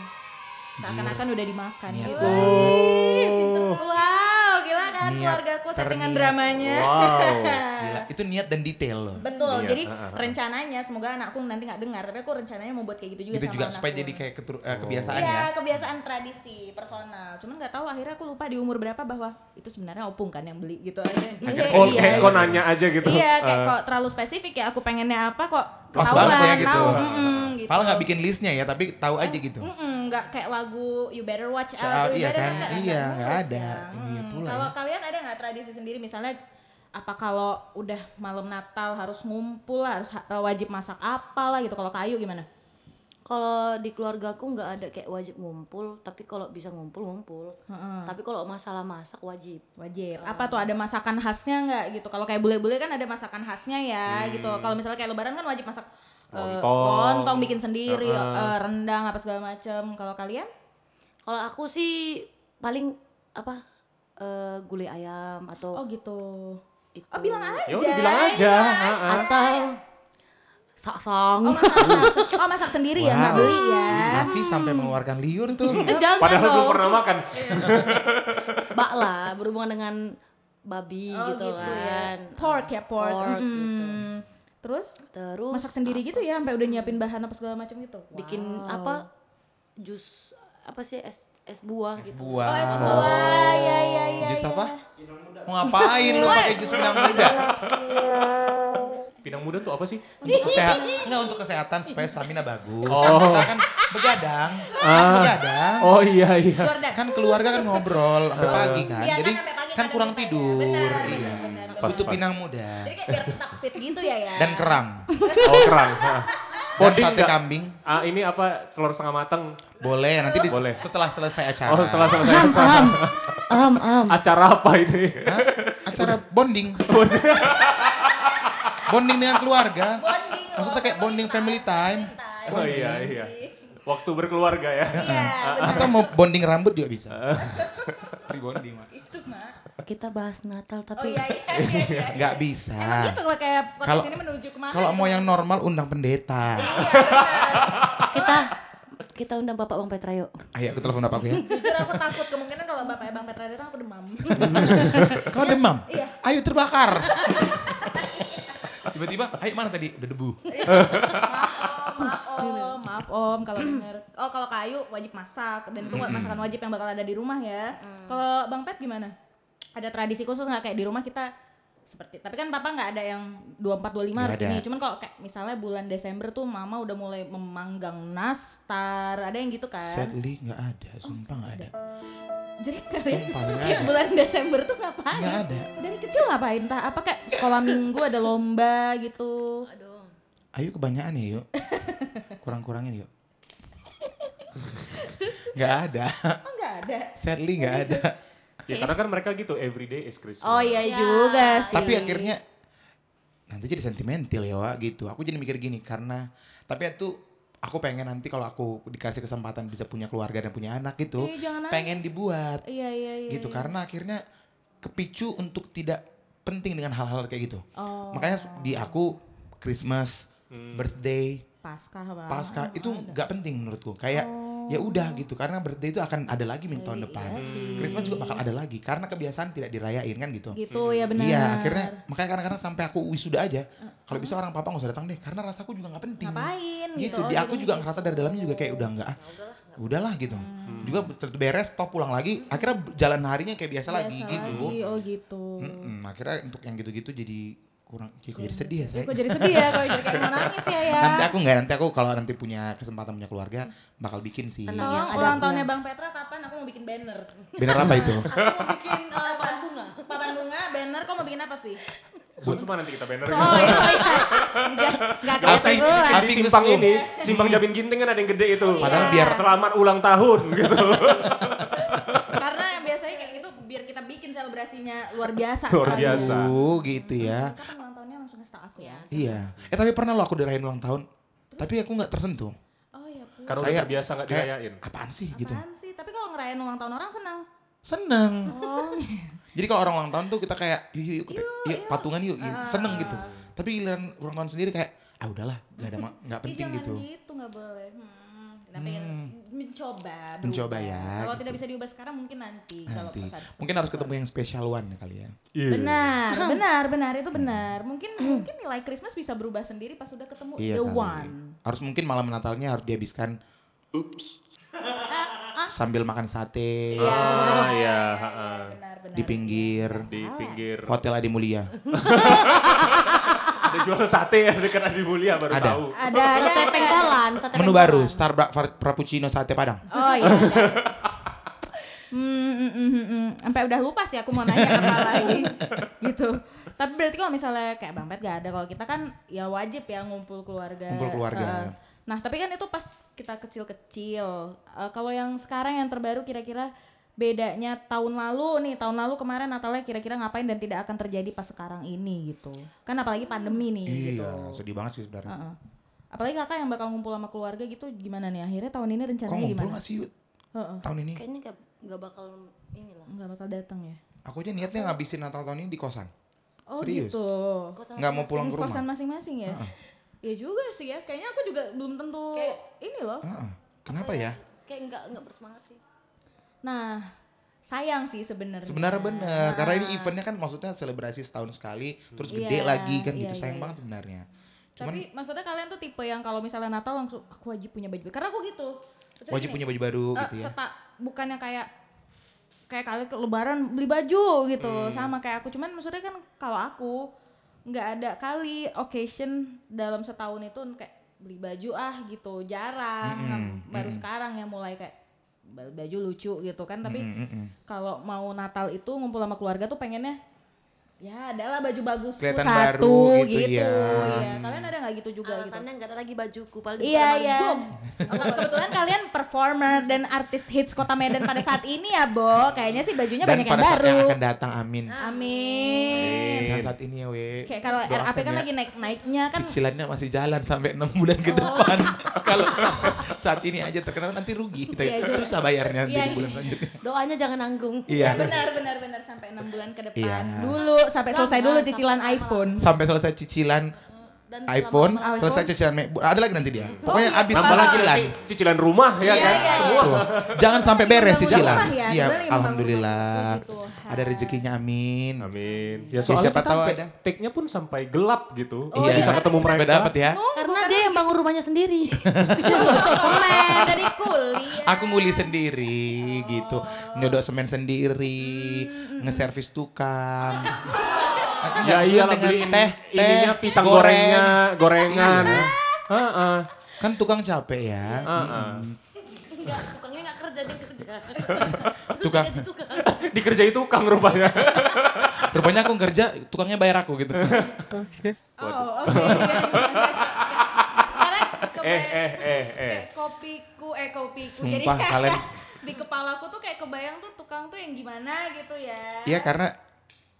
[SPEAKER 1] Seakan-akan udah dimakan.
[SPEAKER 2] Niat
[SPEAKER 1] Gila.
[SPEAKER 4] Oh.
[SPEAKER 1] Wow, gila kan
[SPEAKER 2] Niat
[SPEAKER 1] keluargaku settingan
[SPEAKER 2] terniat.
[SPEAKER 1] dramanya. [LAUGHS]
[SPEAKER 4] Wow.
[SPEAKER 2] Gila, ya. itu niat dan detail loh.
[SPEAKER 1] Betul.
[SPEAKER 4] Iya,
[SPEAKER 1] Jadi
[SPEAKER 4] ah, ah, ah.
[SPEAKER 1] rencananya semoga anakku nanti nggak dengar, tapi aku rencananya mau buat kayak gitu juga
[SPEAKER 2] Itu
[SPEAKER 1] sama
[SPEAKER 2] juga
[SPEAKER 1] anakku.
[SPEAKER 2] supaya jadi kayak ketur- eh, kebiasaan
[SPEAKER 1] Iya,
[SPEAKER 2] ya.
[SPEAKER 1] kebiasaan tradisi personal. Cuman nggak tahu akhirnya aku lupa di umur berapa bahwa itu sebenarnya opung kan yang beli gitu
[SPEAKER 2] [LAUGHS]
[SPEAKER 1] aja. Iya,
[SPEAKER 4] Oh,
[SPEAKER 1] iya,
[SPEAKER 4] kayak
[SPEAKER 1] iya.
[SPEAKER 4] kau nanya aja gitu.
[SPEAKER 1] Iya, kayak
[SPEAKER 4] Eh,
[SPEAKER 1] kok terlalu spesifik ya aku pengennya apa kok
[SPEAKER 2] Pas
[SPEAKER 1] ketahuan
[SPEAKER 2] banget ya gitu.
[SPEAKER 1] tahu. Mm-mm, gitu. Ah, mm,
[SPEAKER 2] Padahal nggak bikin listnya ya, tapi tahu aja gitu.
[SPEAKER 1] Mm-mm, nggak kayak lagu You Better Watch
[SPEAKER 2] Shout
[SPEAKER 1] Out,
[SPEAKER 2] Out,
[SPEAKER 1] You
[SPEAKER 2] iya
[SPEAKER 1] Better
[SPEAKER 2] kan?
[SPEAKER 1] Watch Out,
[SPEAKER 2] Iya,
[SPEAKER 1] nggak
[SPEAKER 2] nggak
[SPEAKER 1] bagus
[SPEAKER 2] ada.
[SPEAKER 1] ya.
[SPEAKER 2] Iya
[SPEAKER 1] Mm,
[SPEAKER 2] pula
[SPEAKER 1] Kalau
[SPEAKER 2] ya.
[SPEAKER 1] kalian ada nggak tradisi sendiri misalnya apa kalau udah malam Natal harus ngumpul lah, harus ha- wajib masak apa lah gitu. Kalau kayu gimana?
[SPEAKER 3] Kalau di keluarga aku nggak ada kayak wajib ngumpul, tapi kalau bisa ngumpul ngumpul. Tapi kalau masalah masak wajib.
[SPEAKER 1] Wajib. Apa tuh ada masakan khasnya nggak gitu? Kalau kayak bule-bule kan ada masakan khasnya ya
[SPEAKER 2] Hmm.
[SPEAKER 1] gitu. Kalau misalnya kayak lebaran kan wajib masak eh,
[SPEAKER 4] Lontong.
[SPEAKER 1] lontong bikin sendiri,
[SPEAKER 4] Heeh.
[SPEAKER 1] eh, rendang apa segala macem. Kalau kalian?
[SPEAKER 3] Kalau aku sih paling apa eh, gulai ayam atau
[SPEAKER 1] Oh gitu.
[SPEAKER 3] itu
[SPEAKER 1] Oh bilang aja.
[SPEAKER 4] Ya udah bilang aja. ah, ah.
[SPEAKER 3] atau saksang. [LAUGHS]
[SPEAKER 1] Oh masak, oh, masak sendiri ya, nggak beli ya.
[SPEAKER 2] Nafi sampai mengeluarkan liur
[SPEAKER 1] [LAUGHS]
[SPEAKER 2] tuh.
[SPEAKER 3] Eh, Jangan
[SPEAKER 4] Padahal belum
[SPEAKER 3] dong.
[SPEAKER 4] pernah makan.
[SPEAKER 1] Iya.
[SPEAKER 3] Bak lah berhubungan dengan babi
[SPEAKER 1] Oh,
[SPEAKER 3] gitu,
[SPEAKER 1] ya.
[SPEAKER 3] kan.
[SPEAKER 1] Pork ya pork.
[SPEAKER 3] Pork
[SPEAKER 1] Mm-mm.
[SPEAKER 3] gitu.
[SPEAKER 1] Terus
[SPEAKER 3] Terus
[SPEAKER 1] masak sendiri gitu ya sampai udah nyiapin bahan apa segala macam gitu.
[SPEAKER 3] bikin
[SPEAKER 1] Wow.
[SPEAKER 3] apa jus apa sih es es buah gitu.
[SPEAKER 1] Oh, es
[SPEAKER 2] Buah.
[SPEAKER 1] buah. Ya, ya, ya,
[SPEAKER 2] Jus
[SPEAKER 1] ya.
[SPEAKER 2] apa? Mau ngapain lu pakai jus pinang muda?
[SPEAKER 4] Pinang muda tuh apa sih?
[SPEAKER 2] Untuk kesehatan, enggak untuk kesehatan supaya stamina bagus. Kan
[SPEAKER 4] Oh.
[SPEAKER 2] kita kan begadang, kan begadang.
[SPEAKER 4] Oh iya iya.
[SPEAKER 1] Jordan.
[SPEAKER 2] [LAUGHS] Kan keluarga kan ngobrol sampai pagi kan.
[SPEAKER 1] Iya,
[SPEAKER 2] Jadi
[SPEAKER 1] kan sampai pagi
[SPEAKER 2] kan
[SPEAKER 1] kadang
[SPEAKER 2] kurang
[SPEAKER 1] lupa ya.
[SPEAKER 2] tidur.
[SPEAKER 1] Benar,
[SPEAKER 2] Iya.
[SPEAKER 1] benar, benar,
[SPEAKER 4] Pas,
[SPEAKER 2] Butuh
[SPEAKER 4] pas.
[SPEAKER 2] pinang muda
[SPEAKER 1] [LAUGHS] Jadi kayak biar tetap fit gitu ya ya.
[SPEAKER 2] dan kerang.
[SPEAKER 4] Oh kerang. ah.
[SPEAKER 2] Dan
[SPEAKER 4] Poding
[SPEAKER 2] sate
[SPEAKER 4] nggak?
[SPEAKER 2] kambing
[SPEAKER 4] Ah, ini apa telur setengah matang?
[SPEAKER 2] boleh nanti di-
[SPEAKER 4] Boleh.
[SPEAKER 2] setelah selesai acara.
[SPEAKER 4] Oh setelah selesai
[SPEAKER 1] [LAUGHS]
[SPEAKER 3] Am, am, am, am.
[SPEAKER 4] acara apa ini?
[SPEAKER 2] Hah? Acara bonding. bonding dengan keluarga.
[SPEAKER 1] Bonding loh,
[SPEAKER 2] Maksudnya kayak bonding family time.
[SPEAKER 4] Oh iya iya. Waktu berkeluarga ya.
[SPEAKER 2] Atau mau bonding rambut juga bisa. Rebonding, Mak.
[SPEAKER 1] itu mah.
[SPEAKER 3] Kita bahas Natal
[SPEAKER 1] Oh
[SPEAKER 3] tapi
[SPEAKER 1] iya iya iya. iya.
[SPEAKER 2] Nggak bisa.
[SPEAKER 1] Emang gitu kalau kayak podcast
[SPEAKER 2] Kalau-
[SPEAKER 1] ini menuju kemana?
[SPEAKER 2] Kalau
[SPEAKER 1] gitu.
[SPEAKER 2] mau yang normal undang pendeta.
[SPEAKER 1] Iya, bener.
[SPEAKER 3] kita kita undang Bapak Bang Petra yuk.
[SPEAKER 2] Ayo aku telepon bapakku ya.
[SPEAKER 1] Jujur aku takut kemungkinan kalau bapaknya Bang Petra datang aku demam. [LAUGHS]
[SPEAKER 2] Kau demam?
[SPEAKER 1] Iya.
[SPEAKER 2] Ayo terbakar. Tiba-tiba, ayo mana tadi? Udah debu.
[SPEAKER 1] Iya maaf
[SPEAKER 2] ya.
[SPEAKER 1] om, maaf om kalau bener. Oh kalau kayu wajib masak dan itu masakan wajib yang bakal ada di rumah ya. Kalau Bang Pet gimana? Ada tradisi khusus nggak kayak di rumah kita seperti tapi kan papa nggak ada yang 24 25
[SPEAKER 2] Nggak
[SPEAKER 1] harus
[SPEAKER 2] ada.
[SPEAKER 1] ini. Cuman kalau kayak misalnya bulan Desember tuh mama udah mulai memanggang nastar, ada yang gitu kan.
[SPEAKER 2] Sadly nggak ada, sumpah nggak ada.
[SPEAKER 1] Jadi kalian
[SPEAKER 2] Sumpah nggak
[SPEAKER 1] [LAUGHS] kayak
[SPEAKER 2] ada.
[SPEAKER 1] bulan Desember tuh ngapain?
[SPEAKER 2] Nggak ada.
[SPEAKER 1] Dari kecil ngapain? Tah? Apa kayak sekolah minggu ada lomba gitu?
[SPEAKER 3] Aduh.
[SPEAKER 2] Ayo kebanyakan ya yuk. Kurang-kurangin yuk. Nggak ada.
[SPEAKER 1] Oh nggak ada.
[SPEAKER 2] Sadly nggak ada.
[SPEAKER 4] Ya karena kan mereka gitu everyday is Christmas.
[SPEAKER 1] Oh iya
[SPEAKER 3] Ya,
[SPEAKER 1] juga sih.
[SPEAKER 2] Tapi akhirnya nanti jadi sentimental ya Wak gitu. Aku jadi mikir gini karena tapi itu aku pengen nanti kalau aku dikasih kesempatan bisa punya keluarga dan punya anak gitu,
[SPEAKER 1] Ih, Iya, jangan
[SPEAKER 2] pengen dibuat
[SPEAKER 1] Iya iya iya.
[SPEAKER 2] gitu
[SPEAKER 1] iya.
[SPEAKER 2] karena akhirnya kepicu untuk tidak penting dengan hal-hal kayak gitu.
[SPEAKER 1] Oh.
[SPEAKER 2] Makanya di aku Christmas, birthday,
[SPEAKER 1] Paskah apa?
[SPEAKER 2] pasca itu nggak penting menurutku kayak ya udah gitu karena birthday itu akan ada lagi minggu
[SPEAKER 1] Oh.
[SPEAKER 2] tahun
[SPEAKER 1] Iya
[SPEAKER 2] depan
[SPEAKER 1] sih.
[SPEAKER 2] Christmas juga bakal ada lagi karena kebiasaan tidak dirayain kan gitu
[SPEAKER 1] Gitu ya benar.
[SPEAKER 2] iya akhirnya makanya kadang-kadang sampai aku wisuda aja kalau bisa orang papa nggak usah datang deh karena rasaku juga nggak penting
[SPEAKER 1] ngapain
[SPEAKER 2] gitu,
[SPEAKER 1] gitu.
[SPEAKER 2] di
[SPEAKER 1] Oh,
[SPEAKER 2] aku
[SPEAKER 1] jadi
[SPEAKER 2] juga ngerasa dari dalamnya juga kayak udah nggak ah, udahlah gitu
[SPEAKER 4] Hmm.
[SPEAKER 2] juga setelah beres stop pulang lagi akhirnya jalan harinya kayak biasa,
[SPEAKER 1] Hmm. biasa
[SPEAKER 2] lagi gitu
[SPEAKER 1] Iya, lagi, Oh gitu.
[SPEAKER 2] Mm-mm, akhirnya untuk yang gitu-gitu jadi kurang kok jadi sedih ya saya
[SPEAKER 1] Iya. Kok jadi sedih ya kalau jadi kayak mau nangis ya ya.
[SPEAKER 2] nanti aku nggak nanti aku kalau nanti punya kesempatan punya keluarga bakal bikin sih
[SPEAKER 3] Tenang.
[SPEAKER 1] Tolong
[SPEAKER 3] Ada
[SPEAKER 1] ulang
[SPEAKER 3] aku
[SPEAKER 1] tahunnya
[SPEAKER 3] yang-
[SPEAKER 1] Bang Petra kapan aku mau bikin banner.
[SPEAKER 2] Bener apa itu
[SPEAKER 1] Aku mau bikin eh, papan bunga. Papan bunga, banner, kok mau bikin apa sih?
[SPEAKER 4] Sun cuma nanti kita banner.
[SPEAKER 1] Oh iya, Oh, iya. Enggak, enggak
[SPEAKER 2] Apa
[SPEAKER 1] kelihatan
[SPEAKER 2] ini?
[SPEAKER 1] bulan.
[SPEAKER 2] Afi
[SPEAKER 4] Di simpang
[SPEAKER 2] ngesum.
[SPEAKER 4] ini, simpang Jamin Ginting kan ada yang gede itu.
[SPEAKER 2] Padahal biar-
[SPEAKER 4] selamat ulang tahun [LAUGHS] gitu.
[SPEAKER 1] Karena yang biasanya kayak gitu biar kita bikin selebrasinya luar biasa.
[SPEAKER 4] Luar
[SPEAKER 1] sekali.
[SPEAKER 4] biasa.
[SPEAKER 2] Uh, gitu ya
[SPEAKER 1] Kapan ulang tahunnya langsung kasih tau aku ya.
[SPEAKER 2] iya eh tapi pernah lo aku dirayain ulang tahun tapi aku nggak tersentuh
[SPEAKER 1] Oh iya, Bu.
[SPEAKER 4] Karena udah
[SPEAKER 2] Kayak-
[SPEAKER 4] terbiasa nggak
[SPEAKER 2] kayak,
[SPEAKER 4] dirayain.
[SPEAKER 2] apaan sih gitu
[SPEAKER 1] Apaan sih? Tapi kalau ngerayain ulang tahun orang senang.
[SPEAKER 2] seneng
[SPEAKER 1] Oh.
[SPEAKER 2] jadi kalau orang ulang tahun tuh kita kayak yuk yuk, yuk, kita- yuk, patungan yuk, yuk, seneng gitu tapi giliran ulang tahun sendiri kayak ah udahlah nggak ada ma- nggak penting
[SPEAKER 1] jangan
[SPEAKER 2] gitu
[SPEAKER 1] gitu nggak boleh. Hmm. Kita pengen mencoba. berubah.
[SPEAKER 2] Mencoba ya,
[SPEAKER 1] Kalau
[SPEAKER 2] gitu.
[SPEAKER 1] tidak bisa diubah sekarang mungkin nanti. Kalau
[SPEAKER 2] nanti
[SPEAKER 1] pesan-
[SPEAKER 2] mungkin harus ketemu yang special one ya kali ya
[SPEAKER 4] Iya.
[SPEAKER 1] Benar, benar, benar itu benar. Mungkin mungkin nilai Christmas bisa berubah sendiri pas sudah ketemu
[SPEAKER 2] iya
[SPEAKER 1] Oh, the
[SPEAKER 2] kali.
[SPEAKER 1] one.
[SPEAKER 2] harus mungkin malam Natalnya harus dihabiskan ups sambil makan sate
[SPEAKER 4] Ah iya. ha, ha.
[SPEAKER 1] Benar, benar.
[SPEAKER 2] di pinggir
[SPEAKER 4] Di pinggir.
[SPEAKER 2] Hotel Adi Mulia.
[SPEAKER 4] Ada jual sate ya dekat Adi Mulia baru
[SPEAKER 2] Ada.
[SPEAKER 4] tahu.
[SPEAKER 1] Ada ada
[SPEAKER 3] Sate
[SPEAKER 1] ada.
[SPEAKER 3] pengkolan, sate
[SPEAKER 2] Menu
[SPEAKER 3] pengkolan.
[SPEAKER 2] baru, Starbucks fra- Frappuccino Sate Padang.
[SPEAKER 1] Oh iya. ada. Hmm, hmm, hmm, hmm, hmm. sampai udah lupa sih aku mau nanya apa lagi gitu. Tapi berarti kalau misalnya kayak Bang Pet gak ada, kalau kita kan ya wajib ya ngumpul keluarga.
[SPEAKER 2] Ngumpul keluarga.
[SPEAKER 1] Heeh. Nah tapi kan itu pas kita kecil-kecil. Eh, kalau yang sekarang yang terbaru kira-kira bedanya tahun lalu nih, tahun lalu kemarin Natalnya kira-kira ngapain dan tidak akan terjadi pas sekarang ini gitu. Kan apalagi pandemi nih gitu. Ah,
[SPEAKER 2] Iya, sedih banget sih sebenarnya.
[SPEAKER 1] Heeh. Apalagi kakak yang bakal ngumpul sama keluarga gitu gimana nih akhirnya tahun ini rencananya
[SPEAKER 2] Kok ngumpul
[SPEAKER 1] gimana?
[SPEAKER 2] gak sih Yud?
[SPEAKER 1] Heeh.
[SPEAKER 2] tahun ini?
[SPEAKER 3] Kayaknya gak, gak bakal inilah.
[SPEAKER 1] nggak bakal datang ya.
[SPEAKER 2] Aku aja niatnya ngabisin Natal tahun ini di kosan.
[SPEAKER 1] Oh
[SPEAKER 2] Serius?
[SPEAKER 1] gitu.
[SPEAKER 3] Kosan
[SPEAKER 2] Nggak mau pulang ke rumah.
[SPEAKER 1] Kosan masing-masing ya. Iya juga sih ya. Kayaknya aku juga belum tentu
[SPEAKER 3] Kayak-
[SPEAKER 1] ini loh.
[SPEAKER 2] Heeh. Kenapa ya?
[SPEAKER 3] Kayak nggak nggak bersemangat sih.
[SPEAKER 1] Nah, sayang sih sebenarnya.
[SPEAKER 2] Sebenarnya bener, karena ini eventnya kan maksudnya selebrasi setahun sekali, terus gede
[SPEAKER 1] Iya,
[SPEAKER 2] lagi kan
[SPEAKER 1] iya,
[SPEAKER 2] gitu sayang
[SPEAKER 1] iya,
[SPEAKER 2] banget sebenarnya. Cuman
[SPEAKER 1] Tapi maksudnya kalian tuh tipe yang kalau misalnya Natal langsung aku wajib punya baju. Karena aku gitu. Maksudnya
[SPEAKER 2] wajib
[SPEAKER 1] gini,
[SPEAKER 2] punya baju baru
[SPEAKER 1] eh,
[SPEAKER 2] gitu ya.
[SPEAKER 1] seta- bukan yang kayak kayak kalian ke lebaran beli baju gitu.
[SPEAKER 2] Hmm.
[SPEAKER 1] Sama kayak aku. Cuman maksudnya kan kalau aku nggak ada kali occasion dalam setahun itu kayak beli baju ah gitu. Jarang.
[SPEAKER 2] Mm-mm,
[SPEAKER 1] Baru sekarang yang mulai kayak baju lucu gitu kan. Tapi
[SPEAKER 2] Mm, mm, mm.
[SPEAKER 1] kalau mau Natal itu ngumpul sama keluarga tuh pengennya Ya, adalah baju bagus
[SPEAKER 2] Kelihatan
[SPEAKER 1] satu
[SPEAKER 2] baru gitu ya.
[SPEAKER 1] Iya. Kalian ada nggak gitu juga gitu?
[SPEAKER 3] Alasannya nggak ada lagi bajuku paling
[SPEAKER 1] Iya
[SPEAKER 3] paling
[SPEAKER 1] iya.
[SPEAKER 3] bom.
[SPEAKER 1] Apa- Kebetulan kalian performer dan artis hits Kota Medan pada saat ini ya, Bo. Kayaknya sih bajunya
[SPEAKER 2] Dan
[SPEAKER 1] banyak yang
[SPEAKER 2] pada saat
[SPEAKER 1] baru.
[SPEAKER 2] yang akan datang, amin.
[SPEAKER 1] Amin.
[SPEAKER 2] Dan saat ini ya, we.
[SPEAKER 1] Kayak kalau
[SPEAKER 2] Doakan
[SPEAKER 1] RAP kan
[SPEAKER 2] ya.
[SPEAKER 1] lagi Oh. naik-naiknya kan
[SPEAKER 2] Cicilannya masih jalan sampai enam bulan ke
[SPEAKER 1] [LAUGHS]
[SPEAKER 2] depan. Kalau saat ini aja terkenal nanti rugi kita. ya.
[SPEAKER 1] Iya juga.
[SPEAKER 2] Susah bayarnya nanti
[SPEAKER 1] Iya,
[SPEAKER 2] di bulan
[SPEAKER 1] iya.
[SPEAKER 2] selanjutnya.
[SPEAKER 3] Doanya jangan nanggung.
[SPEAKER 2] Iya.
[SPEAKER 1] Ya, benar benar benar sampai 6 bulan ke depan
[SPEAKER 2] Iya.
[SPEAKER 1] dulu sampai selesai
[SPEAKER 3] Jangan,
[SPEAKER 1] dulu
[SPEAKER 3] sampai
[SPEAKER 1] cicilan
[SPEAKER 3] lama-lama.
[SPEAKER 1] iPhone.
[SPEAKER 2] [LAUGHS] Sampai selai cicilan
[SPEAKER 3] Dan
[SPEAKER 2] iPhone,
[SPEAKER 3] lama-lama-
[SPEAKER 1] iPhone. Oh,
[SPEAKER 2] selesai cicilan MacBook. Ada lagi nanti dia. Pokoknya habis
[SPEAKER 4] Nambah
[SPEAKER 2] semua
[SPEAKER 4] lagi
[SPEAKER 2] cicilan.
[SPEAKER 4] nanti cicilan rumah ya
[SPEAKER 1] Iya,
[SPEAKER 4] kan
[SPEAKER 1] iya,
[SPEAKER 4] semua.
[SPEAKER 2] Betul. Jangan sampai beres
[SPEAKER 1] Bangun
[SPEAKER 2] cicilan.
[SPEAKER 1] rumah ya,
[SPEAKER 2] Iya,
[SPEAKER 1] sebenarnya bangun rumah.
[SPEAKER 2] alhamdulillah.
[SPEAKER 1] Puji Tuhan.
[SPEAKER 2] Ada rezekinya, amin.
[SPEAKER 4] Amin. Ya
[SPEAKER 2] Ya,
[SPEAKER 4] soalnya
[SPEAKER 2] siapa
[SPEAKER 4] kita
[SPEAKER 2] tahu
[SPEAKER 4] sampai
[SPEAKER 2] ada.
[SPEAKER 4] take-nya pun sampai gelap gitu.
[SPEAKER 1] Oh,
[SPEAKER 4] Nggak
[SPEAKER 1] iya.
[SPEAKER 4] bisa ketemu mereka.
[SPEAKER 2] Sampai dapat ya.
[SPEAKER 1] Oh,
[SPEAKER 3] Karena dia yang bangun rumahnya sendiri.
[SPEAKER 1] Butuh semen dari kuliah.
[SPEAKER 2] Aku nguli sendiri
[SPEAKER 1] Oh.
[SPEAKER 2] gitu, nyodok semen
[SPEAKER 1] Hmm,
[SPEAKER 2] sendiri, ngeservis
[SPEAKER 1] [LAUGHS]
[SPEAKER 2] tukang. Aku nggak
[SPEAKER 4] Ya
[SPEAKER 2] suka
[SPEAKER 4] iya
[SPEAKER 2] dengan
[SPEAKER 4] beliin
[SPEAKER 2] teh, teh,
[SPEAKER 4] ininya pisang
[SPEAKER 2] goreng.
[SPEAKER 4] gorengnya, gorengan.
[SPEAKER 2] Iya.
[SPEAKER 4] Heeh.
[SPEAKER 2] Kan tukang capek ya.
[SPEAKER 4] Heeh.
[SPEAKER 3] [LAUGHS]
[SPEAKER 4] [LAUGHS]
[SPEAKER 3] Enggak, tukangnya nggak kerja dia kerja.
[SPEAKER 2] Hmm. Tukang.
[SPEAKER 3] Gaji tukang.
[SPEAKER 4] Dikerjai tukang rupanya.
[SPEAKER 2] Rupanya aku kerja, tukangnya bayar aku
[SPEAKER 1] [LAUGHS]
[SPEAKER 2] gitu.
[SPEAKER 1] Oh,
[SPEAKER 2] [LAUGHS]
[SPEAKER 1] oke. Karena
[SPEAKER 4] eh
[SPEAKER 1] kebayang-
[SPEAKER 4] eh eh eh.
[SPEAKER 1] kayak kopiku eh kopiku jadi
[SPEAKER 2] Sumpah, kalian-
[SPEAKER 1] [LAUGHS] di kepalaku tuh kayak kebayang tuh tukang tuh yang gimana gitu ya
[SPEAKER 2] Iya karena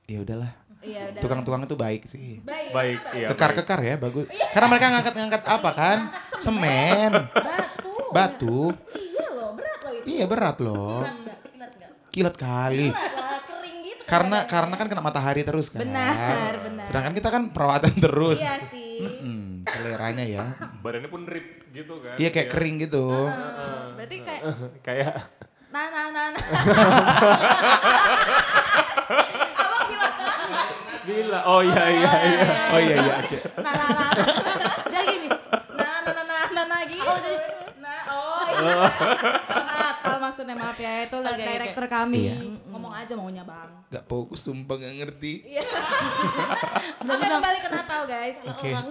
[SPEAKER 2] ya udahlah.
[SPEAKER 1] iya udah
[SPEAKER 2] Tukang-tukang itu baik sih.
[SPEAKER 1] baik,
[SPEAKER 4] Baik, iya. baik.
[SPEAKER 2] Kekar-kekar ya, bagus. Karena mereka ngangkat-ngangkat apa kan? Semen,
[SPEAKER 1] batu
[SPEAKER 2] batu.
[SPEAKER 1] iya loh berat loh itu
[SPEAKER 2] Iya berat loh.
[SPEAKER 3] Kilat nggak? Kilat nggak?
[SPEAKER 2] Kilat kali.
[SPEAKER 1] Berat lah, kering gitu
[SPEAKER 2] Karena
[SPEAKER 1] kadang-kadang.
[SPEAKER 2] karena kan kena matahari terus kan.
[SPEAKER 1] Benar, benar.
[SPEAKER 2] Sedangkan kita kan perawatan terus.
[SPEAKER 1] iya sih
[SPEAKER 2] Hmm, seleranya ya.
[SPEAKER 4] Badannya pun rip gitu kan.
[SPEAKER 2] Iya kayak kering gitu.
[SPEAKER 1] Heeh. berarti kayak
[SPEAKER 4] [LAUGHS] kayak
[SPEAKER 1] nah nah nah nah abang bilang
[SPEAKER 4] gila. Oh iya iya iya.
[SPEAKER 2] Oh iya iya. oke.
[SPEAKER 1] nah nah nah nah
[SPEAKER 3] Jadi gini.
[SPEAKER 1] nah nah nah nah nah nah gitu.
[SPEAKER 3] Oh, jadi-
[SPEAKER 1] nah oh iya Natal maksudnya maaf ya itu lah
[SPEAKER 3] Oke, oke.
[SPEAKER 1] director kami
[SPEAKER 2] Iya.
[SPEAKER 1] ngomong aja maunya bang
[SPEAKER 2] Gak fokus sumpah gak ngerti.
[SPEAKER 1] Iya.
[SPEAKER 3] Bener
[SPEAKER 1] Oke
[SPEAKER 3] bilang.
[SPEAKER 1] kembali ke Natal guys.
[SPEAKER 2] Oke.
[SPEAKER 3] Orang.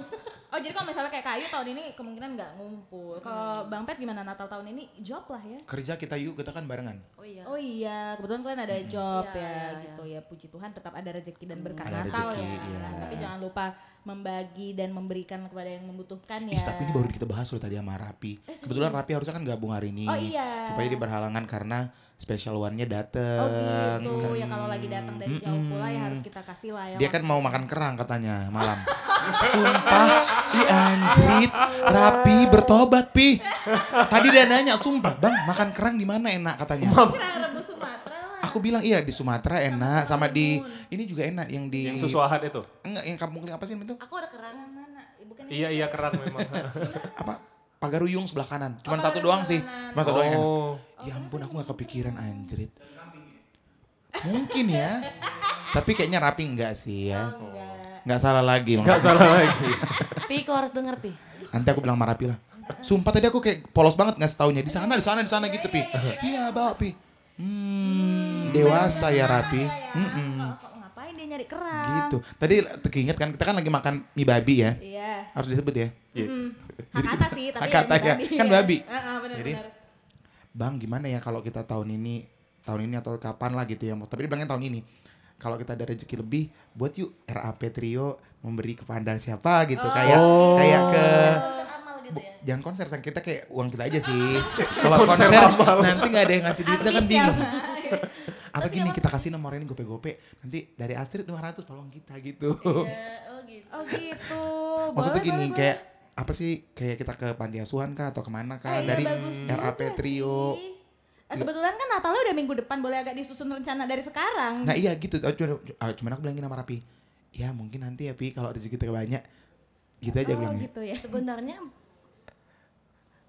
[SPEAKER 1] Oh jadi kalau misalnya kayak kayu tahun ini kemungkinan nggak ngumpul. Kalau Bang Pet gimana Natal tahun ini job lah ya.
[SPEAKER 2] Kerja kita yuk, kita kan barengan.
[SPEAKER 3] Oh iya.
[SPEAKER 1] Oh iya, kebetulan kalian ada job
[SPEAKER 3] Iya,
[SPEAKER 1] ya
[SPEAKER 3] iya,
[SPEAKER 1] gitu ya. Puji Tuhan tetap ada rezeki dan berkat
[SPEAKER 2] Ada
[SPEAKER 1] Natal
[SPEAKER 2] rezeki,
[SPEAKER 1] ya.
[SPEAKER 2] iya.
[SPEAKER 1] Tapi jangan lupa membagi dan memberikan kepada yang membutuhkan ya.
[SPEAKER 2] Ih, tapi ini baru kita bahas loh tadi sama Rapi. Kebetulan Rapi harusnya kan gabung hari ini.
[SPEAKER 1] Eh, Oh iya.
[SPEAKER 2] Supaya dia berhalangan karena special one-nya dateng.
[SPEAKER 1] Oh gitu
[SPEAKER 2] kan.
[SPEAKER 1] ya kalau lagi datang dari jauh pula ya harus kita kasih lah ya.
[SPEAKER 2] Dia kan mau makan kerang katanya malam. Sumpah, i anjrit, Rapi bertobat pi. Tadi dia nanya, sumpah bang makan kerang di mana enak katanya.
[SPEAKER 1] Kita rebus Sumatera lah.
[SPEAKER 2] Aku bilang iya di Sumatera enak sama di ini juga enak yang di
[SPEAKER 4] Yang susuahan itu.
[SPEAKER 2] enggak yang kampung Keling apa sih itu
[SPEAKER 3] Aku ada kerang.
[SPEAKER 1] Mana?
[SPEAKER 3] Ya,
[SPEAKER 1] Bukan
[SPEAKER 4] Iya iya kerang [LAUGHS] memang.
[SPEAKER 2] apa Pagaruyung sebelah kanan cuman
[SPEAKER 1] Oh,
[SPEAKER 2] satu
[SPEAKER 1] Pagaruyung
[SPEAKER 2] doang sih
[SPEAKER 1] kanan.
[SPEAKER 2] cuma satu doang yang enak.
[SPEAKER 4] oh.
[SPEAKER 2] ya ampun aku nggak kepikiran anjrit mungkin ya tapi kayaknya Rapi enggak sih ya
[SPEAKER 1] enggak.
[SPEAKER 2] nggak salah lagi
[SPEAKER 4] Gak
[SPEAKER 2] maksudnya.
[SPEAKER 4] salah lagi.
[SPEAKER 3] Pi, kau harus denger Pi.
[SPEAKER 2] Nanti aku bilang sama Rapi lah. Sumpah tadi aku kayak polos banget nggak setaunya di sana di sana di sana gitu pi. Iya bawa pi. Hmm, dewasa ya Rapi. Mm-mm.
[SPEAKER 1] iya. Kok- kok Ngapain dia nyari kerang?
[SPEAKER 2] Gitu. Tadi keinget kan kita kan lagi makan mie babi ya. [LAUGHS]
[SPEAKER 1] Iya.
[SPEAKER 2] Harus disebut ya.
[SPEAKER 4] Iya.
[SPEAKER 1] Hak kata sih, tapi
[SPEAKER 2] Hak kata ya. Kan babi.
[SPEAKER 1] Heeh, benar
[SPEAKER 2] Jadi,
[SPEAKER 1] benar.
[SPEAKER 2] Bang gimana ya kalau kita tahun ini tahun ini atau kapan lah gitu ya. Tapi dia bilangnya tahun ini. Kalau kita ada rezeki lebih, buat yuk RAP Trio memberi kepada siapa gitu kayak
[SPEAKER 4] Oh.
[SPEAKER 2] kayak ke
[SPEAKER 3] Konten amal gitu ya.
[SPEAKER 2] jangan konser sang kita kayak uang kita aja sih kalau konser,
[SPEAKER 4] Konser amal.
[SPEAKER 2] nanti nggak ada yang ngasih duitnya
[SPEAKER 1] Habis
[SPEAKER 2] kan
[SPEAKER 1] ya, [LAUGHS]
[SPEAKER 2] bingung
[SPEAKER 1] Bang.
[SPEAKER 2] apa gini kita kasih nomor ini gope-gope nanti dari Astrid 500 tolong kita gitu
[SPEAKER 3] Oh gitu.
[SPEAKER 1] Oh gitu.
[SPEAKER 2] [LAUGHS]
[SPEAKER 1] Boleh,
[SPEAKER 2] maksudnya gini
[SPEAKER 1] boleh,
[SPEAKER 2] kayak apa sih kayak kita ke panti asuhan kah atau
[SPEAKER 1] boleh. Eh,
[SPEAKER 2] kemana kah
[SPEAKER 1] iya,
[SPEAKER 2] dari
[SPEAKER 1] bagus juga
[SPEAKER 2] RAP trio
[SPEAKER 1] sih. Eh, kebetulan kan Natalnya udah minggu depan, boleh agak disusun rencana dari sekarang.
[SPEAKER 2] nah iya gitu Oh, cuman, ah, cuman aku bilangin sama Rapi ya mungkin nanti ya Pi kalau rezeki kita banyak gitu
[SPEAKER 1] oh,
[SPEAKER 2] aja bilangnya
[SPEAKER 1] gitu ya.
[SPEAKER 3] Sebenarnya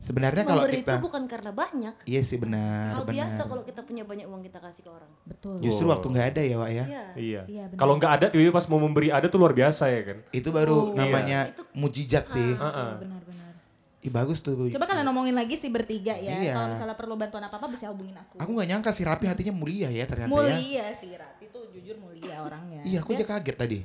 [SPEAKER 2] sebenarnya kalau
[SPEAKER 3] memberi itu
[SPEAKER 2] kita
[SPEAKER 3] bukan karena banyak.
[SPEAKER 2] iya sih benar
[SPEAKER 3] Hal biasa
[SPEAKER 2] benar
[SPEAKER 3] kalau kita punya banyak uang kita kasih ke orang.
[SPEAKER 1] Betul.
[SPEAKER 2] justru waktu nggak ada ya Wak ya
[SPEAKER 3] Iya.
[SPEAKER 4] Iya.
[SPEAKER 1] Iya, benar.
[SPEAKER 4] Kalau nggak ada tiba-tiba pas mau memberi ada tuh luar biasa ya kan.
[SPEAKER 2] itu baru
[SPEAKER 4] Iya.
[SPEAKER 2] namanya
[SPEAKER 3] Itu-
[SPEAKER 2] mujizat sih
[SPEAKER 4] Heeh.
[SPEAKER 1] Benar-benar.
[SPEAKER 2] Ih bagus tuh.
[SPEAKER 1] Coba kalian ngomongin lagi sih bertiga ya.
[SPEAKER 2] Iya.
[SPEAKER 1] Kalau misalnya perlu bantuan apa-apa bisa hubungin aku.
[SPEAKER 2] Aku nggak nyangka si Rapi hatinya mulia ya ternyata ya.
[SPEAKER 1] mulia sih Rati tuh jujur mulia orangnya.
[SPEAKER 2] Iya, aku aja kaget tadi.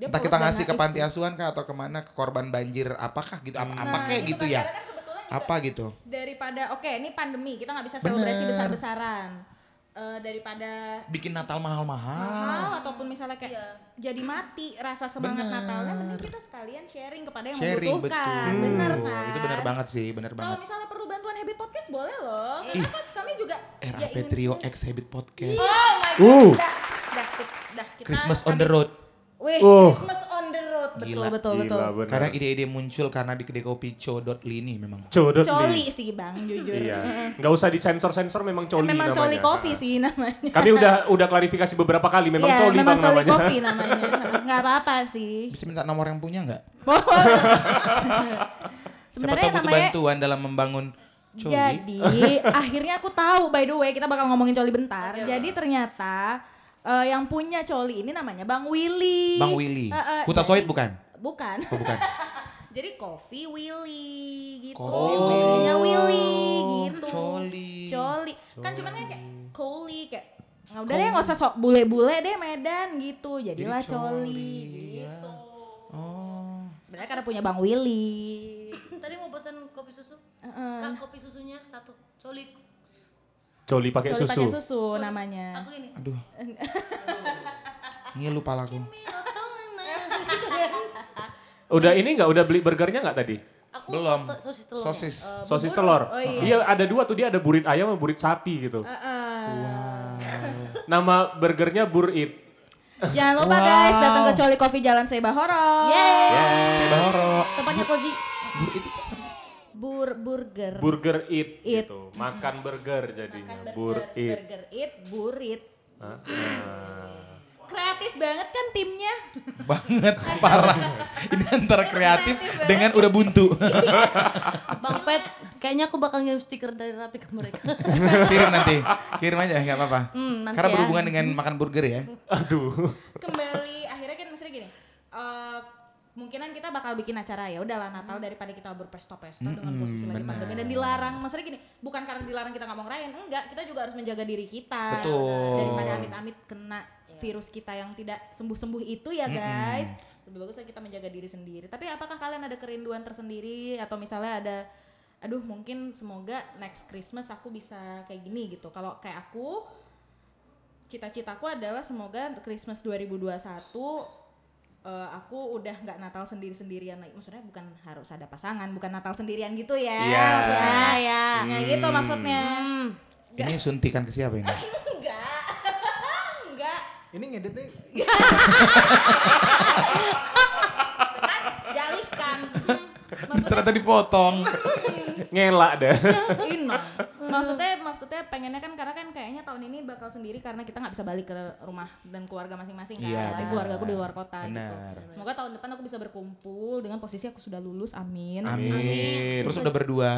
[SPEAKER 1] dia
[SPEAKER 2] Entah
[SPEAKER 1] polos
[SPEAKER 2] kita
[SPEAKER 1] dan
[SPEAKER 2] ngasih ke
[SPEAKER 1] naif
[SPEAKER 2] panti asuhan kah atau kemana ke korban banjir apakah gitu apa,
[SPEAKER 1] Nah,
[SPEAKER 2] apa kayak gitu
[SPEAKER 1] Karena
[SPEAKER 2] ya
[SPEAKER 1] kan kebetulan juga
[SPEAKER 2] apa gitu
[SPEAKER 1] daripada oke ini pandemi kita nggak bisa
[SPEAKER 2] Bener.
[SPEAKER 1] selebrasi besar-besaran eh, daripada
[SPEAKER 2] Bikin Natal mahal-mahal.
[SPEAKER 1] mahal ataupun misalnya kayak
[SPEAKER 3] Iya.
[SPEAKER 1] jadi mati rasa semangat
[SPEAKER 2] Ah. Bener.
[SPEAKER 1] Natalnya mending kita sekalian sharing kepada yang
[SPEAKER 2] Sharing betul.
[SPEAKER 1] membutuhkan. Bener kan?
[SPEAKER 2] Itu benar banget sih, benar
[SPEAKER 1] Kalau
[SPEAKER 2] banget.
[SPEAKER 1] misalnya perlu bantuan Habit Podcast boleh loh.
[SPEAKER 3] Iya.
[SPEAKER 1] Karena kan kami juga
[SPEAKER 2] RAP
[SPEAKER 1] ingin-
[SPEAKER 2] Trio X Habit
[SPEAKER 1] Oh
[SPEAKER 2] Podcast.
[SPEAKER 1] my god.
[SPEAKER 4] Uh.
[SPEAKER 1] Dah, dah, dah kita
[SPEAKER 2] Christmas on the
[SPEAKER 1] habis-
[SPEAKER 2] road.
[SPEAKER 1] Wih,
[SPEAKER 4] Uh.
[SPEAKER 1] Christmas on the road. Betul,
[SPEAKER 2] Gila.
[SPEAKER 1] betul, betul.
[SPEAKER 4] Gila bener.
[SPEAKER 2] Kadang ide-ide muncul karena di kedekopico.li ini memang.
[SPEAKER 4] Codot
[SPEAKER 1] Coli
[SPEAKER 4] nih.
[SPEAKER 1] sih
[SPEAKER 4] [LAUGHS]
[SPEAKER 1] Bang, jujur.
[SPEAKER 4] Iya. Nggak usah disensor-sensor memang coli
[SPEAKER 1] Memang
[SPEAKER 4] namanya.
[SPEAKER 1] coli coffee sih namanya.
[SPEAKER 4] Kami udah udah klarifikasi beberapa kali [LAUGHS] memang
[SPEAKER 1] Iya,
[SPEAKER 4] coli
[SPEAKER 1] memang
[SPEAKER 4] bang
[SPEAKER 1] coli
[SPEAKER 4] namanya.
[SPEAKER 1] coffee namanya. Enggak apa-apa sih.
[SPEAKER 2] Bisa minta nomor yang punya nggak? Siapa
[SPEAKER 1] [LAUGHS] Sebenarnya
[SPEAKER 2] tahu butuh
[SPEAKER 1] namanya
[SPEAKER 2] bantuan dalam membangun coli.
[SPEAKER 1] Jadi akhirnya aku tahu by the way kita bakal ngomongin coli bentar. Jadi ternyata eh, yang punya coli ini namanya Bang Willy.
[SPEAKER 2] Bang Willy.
[SPEAKER 1] Eh, eh,
[SPEAKER 2] Kuta
[SPEAKER 1] jadi-
[SPEAKER 2] Soid bukan?
[SPEAKER 1] Bukan.
[SPEAKER 2] Oh, bukan.
[SPEAKER 1] [LAUGHS] jadi Coffee Willy gitu.
[SPEAKER 2] Coffee
[SPEAKER 1] Coffee
[SPEAKER 2] Willy. Oh,
[SPEAKER 1] Willy gitu.
[SPEAKER 2] Coli.
[SPEAKER 1] Coli. Kan cuman kan kayak coli kayak nggak udah deh nggak usah sok bule-bule deh Medan gitu. Jadilah
[SPEAKER 2] Jadi
[SPEAKER 1] coli,
[SPEAKER 2] coli, ya.
[SPEAKER 1] gitu.
[SPEAKER 2] Oh.
[SPEAKER 1] Sebenarnya karena punya Bang Willy.
[SPEAKER 3] Tadi mau pesan kopi susu?
[SPEAKER 1] Heeh.
[SPEAKER 3] Kak kopi susunya satu. Coli.
[SPEAKER 4] [LAUGHS] Coli pakai
[SPEAKER 1] Coli
[SPEAKER 4] susu.
[SPEAKER 1] pakai susu
[SPEAKER 3] Coli.
[SPEAKER 1] namanya.
[SPEAKER 3] Aku ini.
[SPEAKER 1] [LAUGHS]
[SPEAKER 2] Aduh. Ngilu lupa aku.
[SPEAKER 4] Udah ini nggak udah beli burgernya nggak tadi?
[SPEAKER 3] Aku
[SPEAKER 2] Belum.
[SPEAKER 3] sos- sosis telur.
[SPEAKER 2] Sosis.
[SPEAKER 4] Sosis telur.
[SPEAKER 1] Oh, Ah.
[SPEAKER 4] iya. ada dua tuh dia ada burit ayam sama burit sapi gitu.
[SPEAKER 2] Wow.
[SPEAKER 4] Nama burgernya burit.
[SPEAKER 1] Jangan lupa guys, datang ke Coli Coffee Jalan Seba Horor.
[SPEAKER 3] Yeay.
[SPEAKER 2] Saya bahoro.
[SPEAKER 3] Tempatnya cozy.
[SPEAKER 1] Bur burger.
[SPEAKER 4] Burger it,
[SPEAKER 1] It.
[SPEAKER 4] gitu. Makan burger
[SPEAKER 1] Makan
[SPEAKER 4] jadinya. Ah.
[SPEAKER 1] burger,
[SPEAKER 4] Burit.
[SPEAKER 1] burger eat, burit.
[SPEAKER 4] Hah?
[SPEAKER 1] Kreatif banget kan timnya.
[SPEAKER 2] [LAUGHS] Banget parah. Ini antara kreatif dengan udah buntu. [LAUGHS]
[SPEAKER 3] Bang Pet, kayaknya aku bakal ngirim stiker dari Rapi ke mereka.
[SPEAKER 2] Kirim nanti. Kirim aja nggak apa-apa.
[SPEAKER 3] Hmm, nanti
[SPEAKER 2] Karena
[SPEAKER 3] ya.
[SPEAKER 2] berhubungan dengan makan burger ya.
[SPEAKER 4] Aduh. [LAUGHS]
[SPEAKER 1] Kembali akhirnya kan maksudnya gini. eh mungkinan kita bakal bikin acara ya udahlah Natal daripada kita berpesta-pesta dengan posisi lagi pandemi dan dilarang maksudnya gini bukan karena dilarang kita nggak mau ngerayain enggak kita juga harus menjaga diri kita
[SPEAKER 2] Betul.
[SPEAKER 1] daripada amit-amit kena virus kita yang tidak sembuh-sembuh itu ya guys lebih bagus kita menjaga diri sendiri tapi apakah kalian ada kerinduan tersendiri atau misalnya ada aduh mungkin semoga next Christmas aku bisa kayak gini gitu kalau kayak aku cita-citaku adalah semoga Christmas 2021 eh, aku udah nggak Natal sendiri-sendirian lagi maksudnya bukan harus ada pasangan bukan Natal sendirian gitu ya
[SPEAKER 4] Iya.
[SPEAKER 1] maksudnya
[SPEAKER 3] ya, ya.
[SPEAKER 1] Nah, gitu maksudnya
[SPEAKER 3] Hmm.
[SPEAKER 2] Ini suntikan ke siapa ini?
[SPEAKER 1] enggak enggak
[SPEAKER 5] Ini ngeditnya
[SPEAKER 1] kan dialihkan Hmm, [LAUGHS] maksudnya
[SPEAKER 2] Ternyata
[SPEAKER 1] [LAUGHS]
[SPEAKER 2] dipotong.
[SPEAKER 4] Ngelak deh.
[SPEAKER 1] In, Mang. maksudnya maksudnya pengennya kan karena kan kayaknya tahun ini bakal sendiri karena kita nggak bisa balik ke rumah dan keluarga masing-masing kan
[SPEAKER 2] Iya,
[SPEAKER 1] Tapi
[SPEAKER 2] benar.
[SPEAKER 1] keluarga aku di luar kota gitu
[SPEAKER 2] Benar.
[SPEAKER 1] semoga tahun depan aku bisa berkumpul dengan posisi aku sudah lulus amin
[SPEAKER 2] Amin. Terus udah berdua,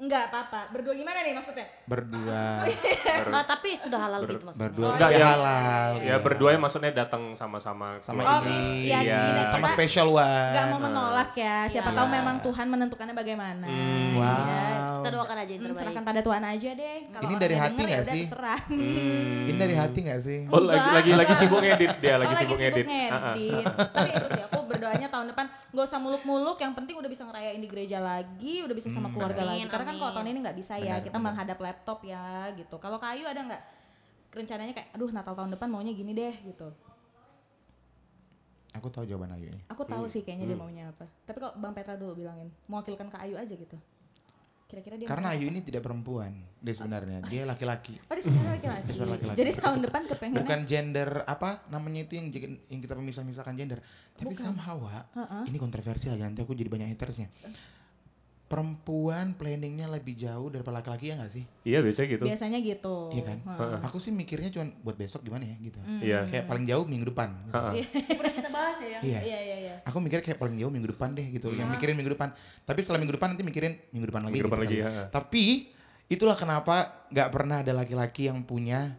[SPEAKER 1] nggak apa-apa berdua gimana nih maksudnya
[SPEAKER 2] berdua,
[SPEAKER 3] Eh, tapi sudah halal gitu maksudnya.
[SPEAKER 2] berdua
[SPEAKER 4] Enggak,
[SPEAKER 2] udah
[SPEAKER 4] ya.
[SPEAKER 2] halal. iya.
[SPEAKER 4] Ya berdua ya maksudnya datang sama-sama.
[SPEAKER 2] sama
[SPEAKER 1] iya. Oh,
[SPEAKER 2] ini,
[SPEAKER 1] iya,
[SPEAKER 2] iya.
[SPEAKER 1] gini,
[SPEAKER 2] sama
[SPEAKER 1] kita-
[SPEAKER 2] special
[SPEAKER 1] nggak
[SPEAKER 2] one.
[SPEAKER 1] mau menolak ya siapa
[SPEAKER 3] Iya.
[SPEAKER 1] tahu memang Tuhan menentukannya bagaimana Ya.
[SPEAKER 2] Wow.
[SPEAKER 3] Kita doakan aja yang
[SPEAKER 1] Hmm,
[SPEAKER 3] terbaik. Hmm.
[SPEAKER 1] serahkan pada Tuhan aja deh Kalau
[SPEAKER 2] Ini
[SPEAKER 1] orang
[SPEAKER 2] dari
[SPEAKER 1] yang
[SPEAKER 2] hati
[SPEAKER 1] denger ya
[SPEAKER 2] nggak
[SPEAKER 1] udah
[SPEAKER 2] sih? [LAUGHS]
[SPEAKER 1] terserah.
[SPEAKER 2] Ini dari hati gak sih?
[SPEAKER 4] Oh lagi
[SPEAKER 1] Enggak,
[SPEAKER 4] lagi lagi
[SPEAKER 1] enggak.
[SPEAKER 4] sibuk ngedit dia lagi
[SPEAKER 1] oh,
[SPEAKER 4] sibuk ngedit. Ah, ah.
[SPEAKER 1] ngedit. Tapi itu sih aku berdoanya tahun depan nggak usah muluk-muluk, yang penting udah bisa ngerayain di gereja lagi, udah bisa sama
[SPEAKER 2] Hmm,
[SPEAKER 1] keluarga
[SPEAKER 3] Amin,
[SPEAKER 1] lagi. Karena kan kalau
[SPEAKER 3] amin.
[SPEAKER 1] tahun ini nggak bisa ya, kita menghadap laptop ya gitu. Kalau kayu ada nggak rencananya kayak, aduh Natal tahun depan maunya gini deh gitu.
[SPEAKER 2] Aku tahu jawaban Ayu ini.
[SPEAKER 1] Aku tahu sih kayaknya dia
[SPEAKER 2] Hmm.
[SPEAKER 1] maunya apa. Tapi kok Bang Petra dulu bilangin, mewakilkan ke Ayu aja gitu. Kira-kira dia
[SPEAKER 2] Karena Ayu ini tidak perempuan, dia sebenarnya dia laki-laki.
[SPEAKER 1] Oh di sebenarnya laki-laki.
[SPEAKER 2] Dia sebenarnya laki-laki.
[SPEAKER 1] Jadi tahun depan kepengennya
[SPEAKER 2] Bukan gender apa namanya itu yang jek- yang kita pemisah-misahkan gender. Tapi somehow, Wak, ini kontroversi lagi nanti aku jadi banyak hatersnya. Perempuan planningnya lebih jauh daripada laki-laki ya gak sih?
[SPEAKER 4] Iya biasanya gitu.
[SPEAKER 1] biasanya gitu.
[SPEAKER 2] Iya kan?
[SPEAKER 1] Heeh. Hmm.
[SPEAKER 2] Aku sih mikirnya cuman buat besok gimana ya gitu.
[SPEAKER 4] Iya.
[SPEAKER 2] Kayak paling jauh minggu depan. gitu.
[SPEAKER 4] Ah, ah.
[SPEAKER 3] Udah kita bahas ya.
[SPEAKER 2] Iya.
[SPEAKER 1] Iya iya iya.
[SPEAKER 2] Aku mikir kayak paling jauh minggu depan deh gitu. Yang mikirin minggu depan. Tapi setelah minggu depan nanti mikirin minggu depan lagi.
[SPEAKER 4] Hmm. Minggu depan
[SPEAKER 2] gitu
[SPEAKER 4] lagi,
[SPEAKER 2] kali.
[SPEAKER 4] ha.
[SPEAKER 2] Tapi itulah kenapa nggak pernah ada laki-laki yang punya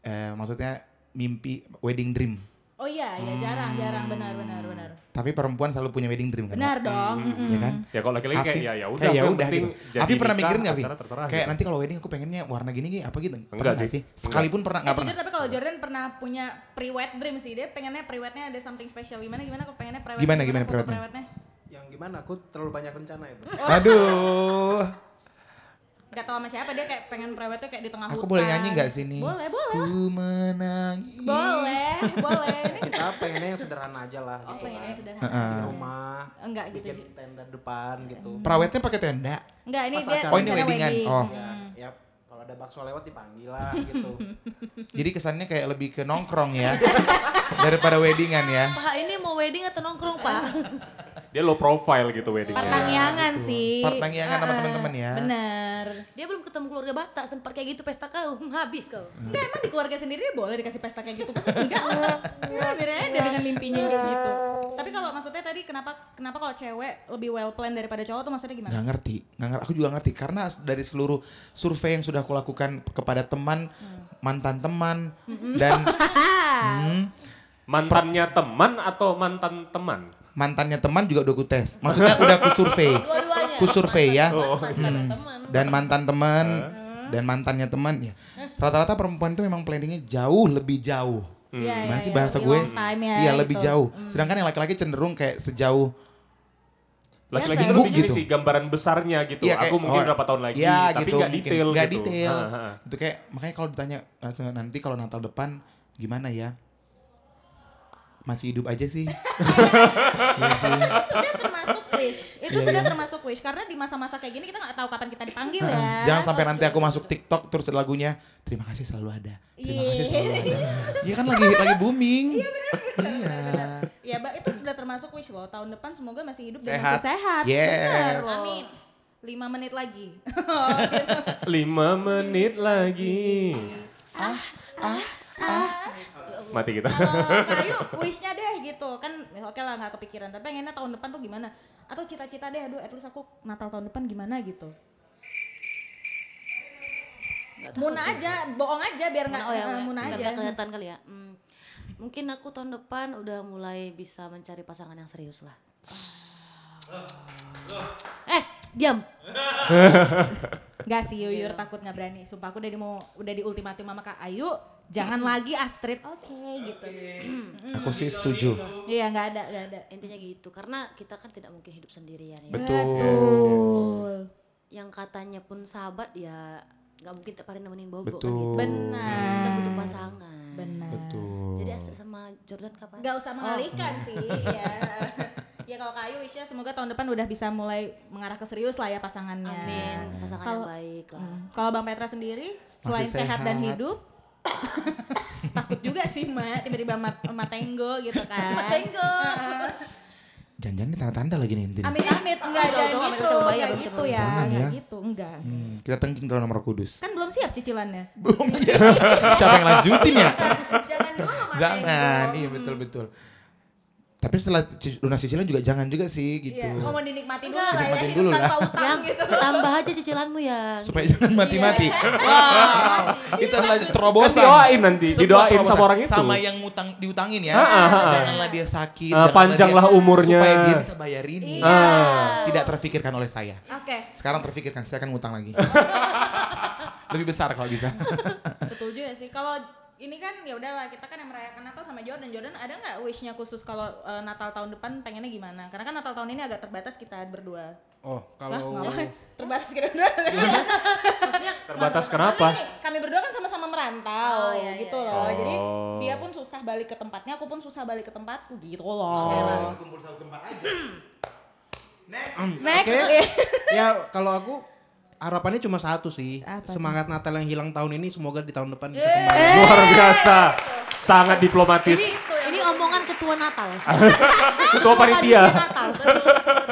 [SPEAKER 2] eh, maksudnya mimpi wedding dream.
[SPEAKER 1] Oh iya, iya
[SPEAKER 2] Hmm.
[SPEAKER 1] jarang, jarang benar benar benar.
[SPEAKER 2] Tapi perempuan selalu punya wedding dream kan?
[SPEAKER 1] Benar dong. mm-mm.
[SPEAKER 2] Ya kan?
[SPEAKER 4] Ya kalau laki-laki kayak
[SPEAKER 2] Afi-
[SPEAKER 4] ya ya udah.
[SPEAKER 2] kayak ya
[SPEAKER 4] yang
[SPEAKER 2] udah
[SPEAKER 4] penting
[SPEAKER 2] gitu.
[SPEAKER 4] jadi
[SPEAKER 2] Afi pernah
[SPEAKER 4] nikah,
[SPEAKER 2] mikirin nggak, Afi?
[SPEAKER 4] acara terserah
[SPEAKER 2] Kayak
[SPEAKER 4] gitu.
[SPEAKER 2] nanti kalau wedding aku pengennya warna gini gini apa gitu. Pernah
[SPEAKER 4] Enggak
[SPEAKER 2] nggak
[SPEAKER 4] sih.
[SPEAKER 2] Sekalipun pernah nggak
[SPEAKER 1] Jujur
[SPEAKER 2] pernah.
[SPEAKER 1] tapi kalau Jordan pernah punya pre-wed dream sih dia pengennya pre-wednya ada something special gimana gimana kok pengennya pre-wed
[SPEAKER 2] Gimana, gimana
[SPEAKER 1] foto
[SPEAKER 2] pre-wednya?
[SPEAKER 1] pre-wednya?
[SPEAKER 5] yang gimana? Aku terlalu banyak rencana itu.
[SPEAKER 2] Aduh.
[SPEAKER 1] Gak tau sama siapa dia kayak pengen prewetnya kayak di tengah
[SPEAKER 2] Aku
[SPEAKER 1] hutan.
[SPEAKER 2] boleh nyanyi nggak sini?
[SPEAKER 1] Boleh, boleh. lah.
[SPEAKER 2] Ku menangis.
[SPEAKER 1] Boleh, boleh. Ini
[SPEAKER 2] [LAUGHS]
[SPEAKER 5] kita pengennya yang sederhana aja lah
[SPEAKER 1] oh,
[SPEAKER 5] gitu
[SPEAKER 1] pengennya
[SPEAKER 5] kan.
[SPEAKER 1] sederhana.
[SPEAKER 5] di rumah
[SPEAKER 1] Enggak gitu.
[SPEAKER 5] bikin
[SPEAKER 1] Ji.
[SPEAKER 5] tenda depan gitu
[SPEAKER 2] Perawetnya pakai tenda.
[SPEAKER 1] Enggak, ini
[SPEAKER 5] Pas
[SPEAKER 1] dia
[SPEAKER 5] acara. Oh, ini
[SPEAKER 1] rencana
[SPEAKER 2] weddingan. Oh.
[SPEAKER 5] ya,
[SPEAKER 1] Mm.
[SPEAKER 5] ya kalau ada bakso lewat dipanggil
[SPEAKER 1] [LAUGHS]
[SPEAKER 5] lah gitu
[SPEAKER 2] Jadi kesannya kayak lebih ke nongkrong ya. [LAUGHS] daripada weddingan ya.
[SPEAKER 3] Pak ini mau wedding atau nongkrong pak?
[SPEAKER 4] Dia low profile gitu weddingnya.
[SPEAKER 1] Pertanyangan sih.
[SPEAKER 2] Pertanyangan Iya, sama
[SPEAKER 1] Ah, ah,
[SPEAKER 2] teman-teman ya.
[SPEAKER 1] Bener.
[SPEAKER 3] Dia belum ketemu keluarga Batak sempat kayak gitu pesta kau habis kau.
[SPEAKER 1] Enggak, emang di keluarga sendiri boleh dikasih pesta kayak gitu. Pasti enggak. Ya, bedanya ada dengan mimpinya kayak gitu. Tapi kalau maksudnya tadi kenapa kenapa kalau cewek lebih well planned daripada cowok tuh maksudnya gimana?
[SPEAKER 2] nggak ngerti, nggak ngerti. Aku juga ngerti karena as- dari seluruh survei yang sudah aku lakukan kepada teman,
[SPEAKER 1] Hmm.
[SPEAKER 2] mantan teman, dan
[SPEAKER 1] [LAUGHS]
[SPEAKER 2] Hmm,
[SPEAKER 4] Mantannya teman atau mantan teman?
[SPEAKER 2] mantannya teman juga udah aku tes. Maksudnya udah aku survei,
[SPEAKER 3] Dua-duanya.
[SPEAKER 2] aku survei ya.
[SPEAKER 1] Oh,
[SPEAKER 3] Mantan teman.
[SPEAKER 2] Dan mantan teman, dan mantannya teman ya. Rata-rata perempuan itu memang planningnya jauh lebih jauh.
[SPEAKER 1] Iya, iya,
[SPEAKER 2] Gimana sih
[SPEAKER 1] iya,
[SPEAKER 2] bahasa
[SPEAKER 1] lebih
[SPEAKER 2] gue?
[SPEAKER 1] long time ya,
[SPEAKER 2] Iya lebih
[SPEAKER 1] gitu.
[SPEAKER 2] jauh. Sedangkan yang laki-laki cenderung kayak sejauh
[SPEAKER 4] Lagi-lagi
[SPEAKER 2] Seminggu
[SPEAKER 4] lebih gini
[SPEAKER 2] gitu.
[SPEAKER 4] sih gambaran besarnya gitu.
[SPEAKER 2] Iya,
[SPEAKER 4] Aku
[SPEAKER 2] kayak,
[SPEAKER 4] mungkin
[SPEAKER 2] oh,
[SPEAKER 4] berapa tahun lagi,
[SPEAKER 2] iya,
[SPEAKER 4] tapi
[SPEAKER 2] gitu,
[SPEAKER 4] nggak
[SPEAKER 2] mungkin.
[SPEAKER 4] detail
[SPEAKER 2] Nggak
[SPEAKER 4] gitu.
[SPEAKER 2] detail.
[SPEAKER 4] Ha, ha.
[SPEAKER 2] Itu kayak makanya kalau ditanya langsung nanti kalau Natal depan gimana ya? Masih hidup aja sih. Iya sih.
[SPEAKER 1] sudah termasuk wish.
[SPEAKER 2] [LAUGHS]
[SPEAKER 1] Itu
[SPEAKER 2] Iya,
[SPEAKER 1] sudah termasuk wish karena di masa-masa kayak gini kita nggak tahu kapan kita dipanggil ya.
[SPEAKER 2] Heeh. Nah, Jangan sampai nanti aku masuk TikTok terus ada lagunya terima kasih selalu ada. Terima kasih selalu ada. Iya kan lagi lagi booming. Iya.
[SPEAKER 1] Ya, Mbak, itu sudah termasuk wish loh. Tahun depan semoga masih hidup dan
[SPEAKER 2] Sehat.
[SPEAKER 1] masih sehat.
[SPEAKER 2] Yes.
[SPEAKER 1] Bener loh.
[SPEAKER 3] Amin.
[SPEAKER 1] Lima menit lagi. [LAUGHS] Oh, gitu.
[SPEAKER 4] Lima menit lagi. Mati kita.
[SPEAKER 1] Kalau Kayu Eh, nah, wishnya deh gitu kan ya oke lah nggak kepikiran tapi pengennya tahun depan tuh gimana atau cita-cita deh aduh at least aku Natal tahun depan gimana gitu Muna aja bohong aja biar nggak
[SPEAKER 3] oh ya,
[SPEAKER 1] eh, Muna
[SPEAKER 3] biar
[SPEAKER 1] aja
[SPEAKER 3] nggak kelihatan kali ya. Hmm, Mungkin aku tahun depan udah mulai bisa mencari pasangan yang serius lah. Eh, diam.
[SPEAKER 1] Gak sih
[SPEAKER 3] Iya.
[SPEAKER 1] Yuyur takut nggak berani sumpah aku udah di mau udah di ultimatum sama Kak Ayu jangan lagi Astrid oke gitu
[SPEAKER 2] Aku sih setuju.
[SPEAKER 1] iya nggak ada nggak ada
[SPEAKER 3] Intinya gitu karena kita kan tidak mungkin hidup sendirian ya.
[SPEAKER 2] Betul.
[SPEAKER 3] Yang katanya pun sahabat ya nggak mungkin tiap hari nemenin bobo kan gitu.
[SPEAKER 2] Betul.
[SPEAKER 3] Kita
[SPEAKER 1] benar
[SPEAKER 3] butuh pasangan.
[SPEAKER 1] benar
[SPEAKER 2] Betul.
[SPEAKER 3] Jadi Astrid sama Jordan kapan?
[SPEAKER 1] nggak usah mengalihkan sih [LAUGHS] ya ya kalau kayu wishnya semoga tahun depan udah bisa mulai mengarah ke serius lah ya pasangannya
[SPEAKER 3] Amin. Pasangan
[SPEAKER 1] Iya. Kalau-
[SPEAKER 3] yang baik lah.
[SPEAKER 1] Hmm. kalau bang Petra sendiri selain sehat. dan
[SPEAKER 2] sehat.
[SPEAKER 1] hidup [LAUGHS] takut juga sih mak tiba-tiba mat, matenggo gitu kan [LAUGHS]
[SPEAKER 2] Jangan-jangan ini tanda-tanda lagi nih. Din.
[SPEAKER 1] amit amit enggak
[SPEAKER 3] Jangan,
[SPEAKER 1] jangan
[SPEAKER 3] jangan,
[SPEAKER 1] gitu
[SPEAKER 3] jangan coba,
[SPEAKER 1] enggak
[SPEAKER 3] jangan
[SPEAKER 1] gitu
[SPEAKER 3] coba.
[SPEAKER 1] ya
[SPEAKER 2] Jangan
[SPEAKER 1] enggak
[SPEAKER 2] ya.
[SPEAKER 1] gitu enggak
[SPEAKER 2] Hmm, kita tengking kalau nomor kudus.
[SPEAKER 1] kan belum siap cicilannya
[SPEAKER 2] Belum ya. [LAUGHS] Siapa yang lanjutin ya?
[SPEAKER 1] jangan dulu matenggo
[SPEAKER 2] Jangan, iya
[SPEAKER 1] Hmm.
[SPEAKER 2] betul-betul. Tapi setelah ci- lunas cicilan juga jangan juga sih gitu.
[SPEAKER 1] Iya, oh, mau dinikmati dulu
[SPEAKER 3] Enggak.
[SPEAKER 1] lah ya
[SPEAKER 2] Dinikmatin
[SPEAKER 1] hidup
[SPEAKER 2] dulu lah.
[SPEAKER 1] tanpa utang
[SPEAKER 3] Yang
[SPEAKER 1] gitu
[SPEAKER 3] tambah aja cicilanmu ya.
[SPEAKER 2] Supaya
[SPEAKER 1] Iya.
[SPEAKER 2] jangan mati-mati. Wow, itu adalah
[SPEAKER 4] Kan
[SPEAKER 2] terobosan.
[SPEAKER 4] didoain nanti,
[SPEAKER 2] Sebuah
[SPEAKER 4] didoain sama
[SPEAKER 2] terobosan.
[SPEAKER 4] orang itu.
[SPEAKER 2] Sama yang ngutang diutangin ya. Janganlah dia sakit.
[SPEAKER 4] Eh,
[SPEAKER 2] janganlah
[SPEAKER 4] panjanglah
[SPEAKER 2] dia-
[SPEAKER 4] umurnya. Ah.
[SPEAKER 2] Supaya dia bisa bayarin.
[SPEAKER 1] Iya.
[SPEAKER 2] Tidak terfikirkan oleh saya.
[SPEAKER 1] oke
[SPEAKER 2] Sekarang terfikirkan, saya akan ngutang
[SPEAKER 1] [LAUGHS]
[SPEAKER 2] lagi. Lebih besar kalau bisa.
[SPEAKER 1] Betul juga ya sih. Kalau ini kan ya udahlah kita kan yang merayakan Natal sama Jordan. Jordan ada nggak wishnya khusus kalau eh, Natal tahun depan pengennya gimana? Karena kan Natal tahun ini agak terbatas kita berdua.
[SPEAKER 5] oh
[SPEAKER 1] Wah,
[SPEAKER 5] kalau
[SPEAKER 1] ngapain? terbatas kita berdua.
[SPEAKER 3] Maksudnya
[SPEAKER 4] Terbatas
[SPEAKER 1] [LAUGHS] Maksudnya
[SPEAKER 4] kenapa?
[SPEAKER 1] gini, kami berdua kan sama-sama merantau
[SPEAKER 3] Oh, iya, iya,
[SPEAKER 1] gitu
[SPEAKER 3] iya.
[SPEAKER 1] loh. Jadi
[SPEAKER 4] Oh.
[SPEAKER 1] dia pun susah balik ke tempatnya, aku pun susah balik ke tempatku gitu loh.
[SPEAKER 4] Oh.
[SPEAKER 1] Hmm.
[SPEAKER 2] Kumpul satu tempat aja. Next.
[SPEAKER 1] Next.
[SPEAKER 5] Oke.
[SPEAKER 1] iya.
[SPEAKER 5] ya kalau aku harapannya cuma satu sih
[SPEAKER 1] Apa tuh? Eh,
[SPEAKER 5] semangat Natal yang hilang tahun ini semoga di tahun depan bisa kembali
[SPEAKER 4] [LAUGHS] Luar biasa. Sangat diplomatis.
[SPEAKER 3] ini,
[SPEAKER 1] [LAUGHS]
[SPEAKER 3] ini omongan ketua Natal.
[SPEAKER 4] Ketua panitia.
[SPEAKER 3] Natal. kan?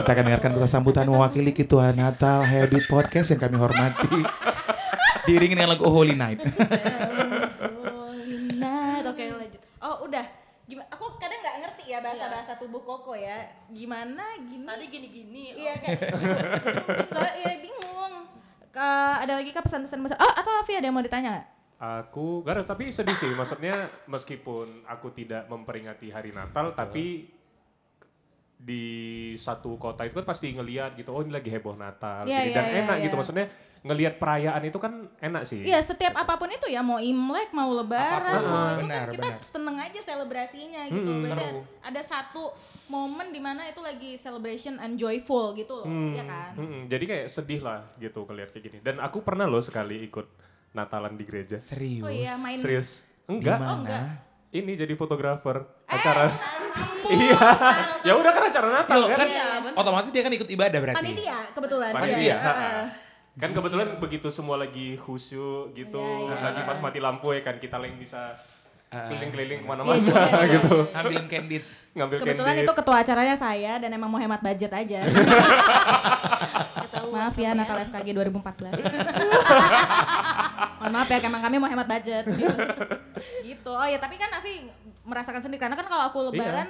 [SPEAKER 2] Kita akan dengarkan kata sambutan mewakili Ketua Natal Habit Podcast yang kami hormati. Diiringi dengan lagu Oh Holy Night.
[SPEAKER 1] Nah, oke lanjut. Oh, udah. Gimana? Aku kadang nggak ngerti ya bahasa-bahasa tubuh Koko ya. Gimana gini?
[SPEAKER 3] Iya. Tadi gini-gini.
[SPEAKER 1] Iya kayak [LAUGHS] soalnya iya bingung. Ke- ada lagi kah pesan-pesan besar? Oh atau Afi ada yang mau ditanya nggak?
[SPEAKER 4] Aku gak ada, tapi sedih sih. Maksudnya meskipun aku tidak memperingati hari Natal, tapi di satu kota itu kan pasti ngeliat gitu, oh ini lagi heboh Natal.
[SPEAKER 1] Iya,
[SPEAKER 4] gini.
[SPEAKER 1] iya,
[SPEAKER 4] Dan
[SPEAKER 1] iya,
[SPEAKER 4] enak gitu,
[SPEAKER 1] iya.
[SPEAKER 4] maksudnya ngelihat perayaan itu kan enak sih.
[SPEAKER 1] Iya setiap apapun itu ya mau Imlek mau Lebaran
[SPEAKER 2] Apapun,
[SPEAKER 1] mau itu
[SPEAKER 2] benar,
[SPEAKER 1] kan kita
[SPEAKER 2] benar.
[SPEAKER 1] seneng aja selebrasinya gitu. Berarti
[SPEAKER 2] Seru.
[SPEAKER 1] ada satu momen di mana itu lagi celebration and joyful gitu loh, ya kan?
[SPEAKER 4] Mm-mm, Hmm, jadi kayak sedih lah gitu ngeliat kayak gini. Dan aku pernah loh sekali ikut Natalan di gereja.
[SPEAKER 2] Serius.
[SPEAKER 1] Oh iya, main
[SPEAKER 4] Serius?
[SPEAKER 2] Enggak.
[SPEAKER 4] Enggak.
[SPEAKER 1] Oh, enggak.
[SPEAKER 4] Ini jadi fotografer
[SPEAKER 1] Eh,
[SPEAKER 4] acara.
[SPEAKER 1] ampun,
[SPEAKER 4] iya.
[SPEAKER 1] salah.
[SPEAKER 4] ya udah kan acara Natal kan.
[SPEAKER 2] kan
[SPEAKER 1] Iya, bener.
[SPEAKER 2] otomatis dia kan ikut ibadah berarti. Nah,
[SPEAKER 1] Panitia kebetulan.
[SPEAKER 4] Panitia.
[SPEAKER 1] Iya,
[SPEAKER 4] ha-ha.
[SPEAKER 1] heeh.
[SPEAKER 4] Kan kebetulan begitu semua lagi khusyuk gitu,
[SPEAKER 1] Iya,
[SPEAKER 4] lagi pas mati lampu ya kan kita lain bisa keliling-keliling kemana-mana
[SPEAKER 3] juga sih.
[SPEAKER 4] gitu.
[SPEAKER 2] Ngambilin candid.
[SPEAKER 4] [LAUGHS]
[SPEAKER 1] Eh,
[SPEAKER 4] Ngambil
[SPEAKER 1] Iya, Kebetulan
[SPEAKER 4] candid.
[SPEAKER 1] itu ketua acaranya saya dan emang mau hemat budget aja.
[SPEAKER 3] Ketahuan
[SPEAKER 1] maaf ya
[SPEAKER 3] kamu
[SPEAKER 1] Natal FKG 2014. Mohon maaf ya, emang kami mau hemat budget gitu. gitu. Oh ya, tapi kan Avi merasakan sendiri karena kan kalau aku lebaran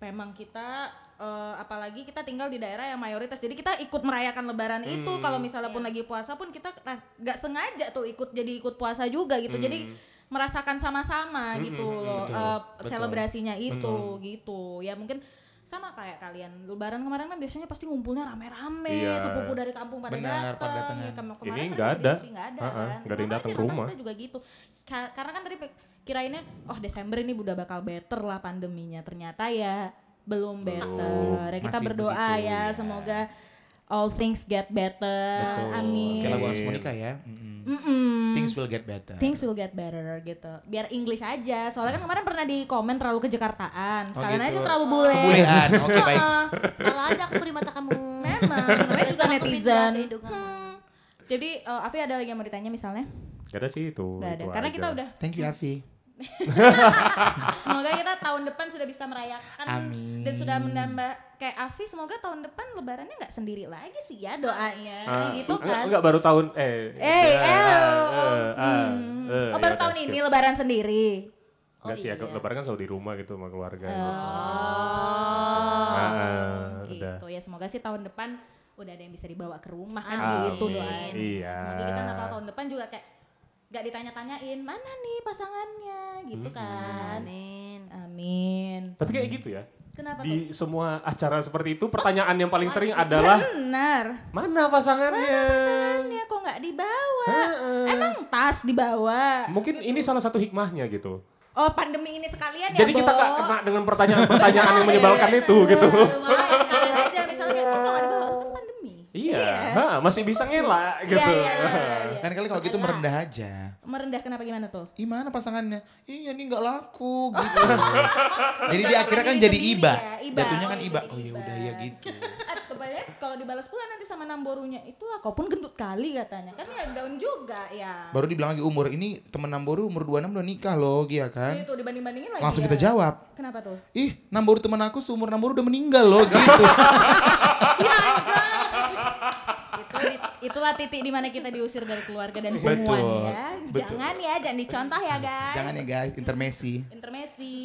[SPEAKER 1] memang kita eh, apalagi kita tinggal di daerah yang mayoritas. Jadi kita ikut merayakan lebaran itu kalau misalnya pun lagi puasa pun kita ras- nggak sengaja tuh ikut jadi ikut puasa juga gitu. Jadi merasakan sama-sama gitu loh eh, selebrasinya itu
[SPEAKER 4] Hmm.
[SPEAKER 1] gitu. Ya mungkin sama kayak kalian lebaran kemarin kan biasanya pasti ngumpulnya rame-rame
[SPEAKER 4] Iya.
[SPEAKER 1] sepupu dari kampung pada
[SPEAKER 2] Benar,
[SPEAKER 1] datang
[SPEAKER 2] pada
[SPEAKER 1] ya,
[SPEAKER 2] datangan.
[SPEAKER 1] kamu-
[SPEAKER 4] Ini
[SPEAKER 1] kemarin kan
[SPEAKER 4] nggak
[SPEAKER 1] udah
[SPEAKER 4] ada.
[SPEAKER 1] disiapin, nggak ada
[SPEAKER 4] Ha-ha,
[SPEAKER 1] kan.
[SPEAKER 4] nggak ada yang
[SPEAKER 1] Sama aja
[SPEAKER 4] datang ke
[SPEAKER 1] Natal
[SPEAKER 4] rumah.
[SPEAKER 1] kita juga gitu Ka- karena kan tadi pe- kirainnya oh Desember ini udah bakal better lah pandeminya ternyata ya belum better ya, kita
[SPEAKER 2] Masih
[SPEAKER 1] berdoa
[SPEAKER 2] begitu,
[SPEAKER 1] ya,
[SPEAKER 2] ya.
[SPEAKER 1] semoga all things get better
[SPEAKER 2] Betul.
[SPEAKER 1] amin
[SPEAKER 2] Kayak lagu Ars Monica ya. Mm-mm.
[SPEAKER 1] Mm-mm.
[SPEAKER 2] Things will get better.
[SPEAKER 4] Nah.
[SPEAKER 1] Things will get better gitu. Biar English aja. Soalnya kan kemarin pernah di komen terlalu ke Jakartaan.
[SPEAKER 2] Oh,
[SPEAKER 1] Sekalian
[SPEAKER 2] gitu.
[SPEAKER 1] aja terlalu bule. Nah, [LAUGHS]
[SPEAKER 2] Kebulehan. Oke,
[SPEAKER 1] Heeh.
[SPEAKER 2] baik.
[SPEAKER 3] Salah aja aku di mata kamu.
[SPEAKER 1] Memang, namanya juga
[SPEAKER 3] Besok aku pindah
[SPEAKER 4] ya,
[SPEAKER 1] netizen.
[SPEAKER 3] ke hidungan.
[SPEAKER 1] Hmm. Jadi eh, Afi ada lagi yang mau ditanya misalnya?
[SPEAKER 4] Gak ada sih itu.
[SPEAKER 1] Gak ada.
[SPEAKER 4] Oh, itu
[SPEAKER 1] Karena
[SPEAKER 4] aja.
[SPEAKER 1] kita udah
[SPEAKER 2] Thank you Avi.
[SPEAKER 1] semoga kita tahun depan sudah bisa merayakan
[SPEAKER 2] Amin.
[SPEAKER 1] dan sudah menambah kayak Afi semoga tahun depan lebarannya nggak sendiri lagi sih ya doanya
[SPEAKER 4] Ah,
[SPEAKER 1] gitu
[SPEAKER 4] enggak,
[SPEAKER 1] kan.
[SPEAKER 4] enggak, baru tahun eh.
[SPEAKER 1] Eh, eh,
[SPEAKER 4] ah, eh, ah, eh,
[SPEAKER 1] oh,
[SPEAKER 4] ya
[SPEAKER 1] baru
[SPEAKER 4] udah,
[SPEAKER 1] tahun
[SPEAKER 4] skip.
[SPEAKER 1] ini lebaran sendiri.
[SPEAKER 4] Enggak
[SPEAKER 3] Oh
[SPEAKER 4] sih, aku
[SPEAKER 3] iya.
[SPEAKER 4] lebaran kan selalu di rumah gitu sama keluarga.
[SPEAKER 1] Oh.
[SPEAKER 4] Ah, ah, udah.
[SPEAKER 1] gitu. Ya semoga sih tahun depan udah ada yang bisa dibawa ke rumah kan
[SPEAKER 4] Amin.
[SPEAKER 1] gitu doain.
[SPEAKER 4] Iya.
[SPEAKER 1] Semoga kita Natal tahun depan juga kayak nggak ditanya-tanyain mana nih pasangannya gitu kan.
[SPEAKER 3] Amin.
[SPEAKER 1] Amin.
[SPEAKER 4] Tapi kayak gitu ya.
[SPEAKER 1] Kenapa tuh?
[SPEAKER 4] Di semua acara seperti itu pertanyaan yang paling sering
[SPEAKER 1] [LAUGHS]
[SPEAKER 4] adalah
[SPEAKER 1] Benar.
[SPEAKER 4] mana pasangannya?
[SPEAKER 1] Pasangannya kok nggak dibawa?
[SPEAKER 4] Ah, Heeh.
[SPEAKER 1] Emang tas dibawa.
[SPEAKER 4] Mungkin ini salah satu hikmahnya gitu.
[SPEAKER 1] Oh pandemi ini sekalian
[SPEAKER 4] Jadi
[SPEAKER 1] ya
[SPEAKER 4] kita
[SPEAKER 1] Bo? Iya.
[SPEAKER 4] gak kena dengan pertanyaan-pertanyaan yang menyebalkan itu gitu.
[SPEAKER 1] Lumayan sekalian aja misalnya kayak kok nggak dibawa? Kan pandemi.
[SPEAKER 4] Iya, ha, masih bisa ngelak gitu.
[SPEAKER 1] Iya, iya, iya, iya.
[SPEAKER 2] Lain kali kalau gitu merendah aja.
[SPEAKER 1] Merendah kenapa gimana tuh?
[SPEAKER 2] Ih mana pasangannya? Iya ini nggak
[SPEAKER 1] [LAUGHS]
[SPEAKER 2] laku gitu. jadi dia akhirnya kan jadi
[SPEAKER 1] Sendiri
[SPEAKER 2] iba.
[SPEAKER 1] ya, iba.
[SPEAKER 2] Jatuhnya kan
[SPEAKER 1] Oh,
[SPEAKER 2] iba.
[SPEAKER 1] jadi
[SPEAKER 2] Oh ya
[SPEAKER 1] iba.
[SPEAKER 2] udah ya gitu.
[SPEAKER 1] Ah, Kebanyakan kalau dibalas pula nanti sama namborunya itulah kau pun gendut kali katanya kan ya daun juga ya
[SPEAKER 2] Baru dibilang lagi umur ini temen Namboru umur 26 udah nikah loh, Gia kan?
[SPEAKER 1] itu dibanding bandingin lagi
[SPEAKER 2] Langsung
[SPEAKER 1] ya.
[SPEAKER 2] kita jawab.
[SPEAKER 1] kenapa tuh
[SPEAKER 2] Ih, Namboru teman aku seumur Namboru udah meninggal loh
[SPEAKER 1] [LAUGHS]
[SPEAKER 2] gitu.
[SPEAKER 1] itu di- itulah titik dimana kita diusir dari keluarga dan
[SPEAKER 2] Betul,
[SPEAKER 1] hubungan ya
[SPEAKER 2] betul.
[SPEAKER 1] jangan ya jangan dicontoh ya guys
[SPEAKER 2] Jangan ya guys, intermesi.
[SPEAKER 1] intermesi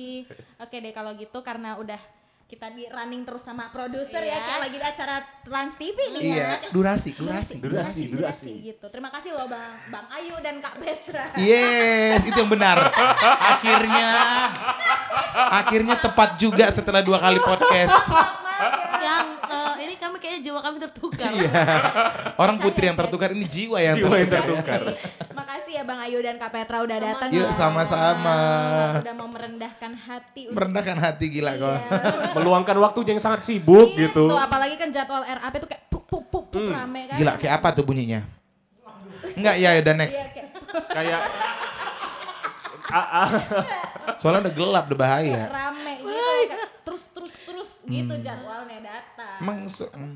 [SPEAKER 1] oke deh kalau gitu karena udah kita di running terus sama produser ya kayak
[SPEAKER 3] Yes.
[SPEAKER 1] lagi di acara Trans TV nih ya
[SPEAKER 2] Iya, durasi, durasi.
[SPEAKER 4] Durasi, durasi.
[SPEAKER 1] gitu terima kasih loh bang bang Ayu dan Kak Petra
[SPEAKER 2] Iya. Yes, itu yang benar. Akhirnya akhirnya tepat juga setelah dua kali podcast.
[SPEAKER 3] Yang eh, ini kami kayaknya jiwa kami tertukar.
[SPEAKER 2] Orang putri yang tertukar ini jiwa yang
[SPEAKER 4] Jiwa yang
[SPEAKER 2] tertukar. ya.
[SPEAKER 4] tertukar.
[SPEAKER 1] Makasih ya Bang Ayu dan Kak Petra udah datang.
[SPEAKER 2] Yuk,
[SPEAKER 1] ya.
[SPEAKER 2] sama-sama.
[SPEAKER 1] Sudah mau merendahkan hati. untuk- ya.
[SPEAKER 2] Merendahkan hati gila kau.
[SPEAKER 1] Iya.
[SPEAKER 4] Meluangkan waktunya yang sangat sibuk gitu. Hmm.
[SPEAKER 1] Tuh, apalagi kan jadwal RAP tuh kayak puk puk puk, puk, rame kan.
[SPEAKER 2] Gila, kayak apa tuh bunyinya? Enggak, ya udah next.
[SPEAKER 1] Iya, kayak
[SPEAKER 4] Kayak Ah, ah.
[SPEAKER 1] Iya.
[SPEAKER 2] Soalnya udah gelap, udah bahaya.
[SPEAKER 1] rame gitu kayak terus terus terus gitu
[SPEAKER 2] Hmm.
[SPEAKER 1] jadwalnya datang.
[SPEAKER 2] Emang su- mm.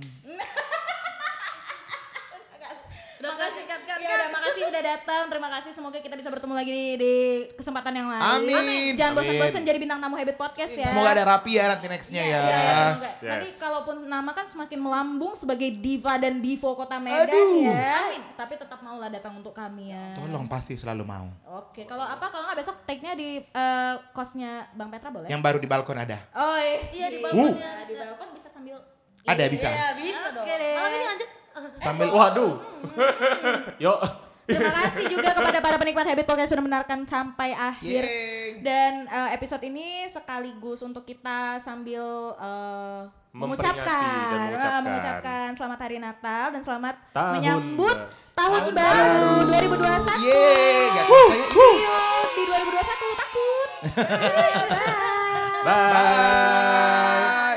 [SPEAKER 3] Udah kasih kan kan.
[SPEAKER 1] Ya udah makasih udah datang. Terima kasih semoga kita bisa bertemu lagi di, di kesempatan yang lain.
[SPEAKER 2] Amin.
[SPEAKER 1] Jangan
[SPEAKER 4] Amin.
[SPEAKER 1] bosan-bosan jadi bintang tamu Habit Podcast ya.
[SPEAKER 2] semoga ada rapi ya nanti nextnya ya.
[SPEAKER 1] Iya, iya, semoga.
[SPEAKER 4] Yes.
[SPEAKER 1] Nanti kalaupun nama kan semakin melambung sebagai diva dan divo kota Medan ya. Tapi tetap maulah datang untuk kami ya.
[SPEAKER 2] Tolong pasti selalu mau.
[SPEAKER 1] Oke, kalau apa kalau nggak besok take-nya di eh, kosnya Bang Petra boleh?
[SPEAKER 2] Yang baru di balkon ada.
[SPEAKER 1] Oh iya
[SPEAKER 3] di
[SPEAKER 1] balkon
[SPEAKER 4] balkonnya
[SPEAKER 1] Di balkon bisa sambil Iya,
[SPEAKER 2] Ada bisa.
[SPEAKER 3] Ya bisa dong.
[SPEAKER 1] Oke deh.
[SPEAKER 3] Malam ini lanjut. Eh.
[SPEAKER 2] Sambil
[SPEAKER 4] Waduh. [LAUGHS] Yuk.
[SPEAKER 1] Terima kasih juga kepada para penikmat Habit Podcast yang sudah menarikan sampai akhir.
[SPEAKER 2] Yeay.
[SPEAKER 1] Dan eh, episode ini sekaligus untuk kita sambil eh,
[SPEAKER 4] Memperingati
[SPEAKER 1] mengucapkan,
[SPEAKER 4] dan
[SPEAKER 1] eh,
[SPEAKER 4] mengucapkan.
[SPEAKER 1] mengucapkan selamat hari Natal dan selamat
[SPEAKER 4] Tahun
[SPEAKER 1] menyambut
[SPEAKER 4] ba-
[SPEAKER 1] tahun,
[SPEAKER 2] Tahun
[SPEAKER 1] baru
[SPEAKER 2] baru.
[SPEAKER 1] 2021.
[SPEAKER 2] Yeay, gak
[SPEAKER 1] Wuh,
[SPEAKER 2] percaya.
[SPEAKER 1] wuh. See you di 2021 takut.
[SPEAKER 4] Bye.
[SPEAKER 2] Bye.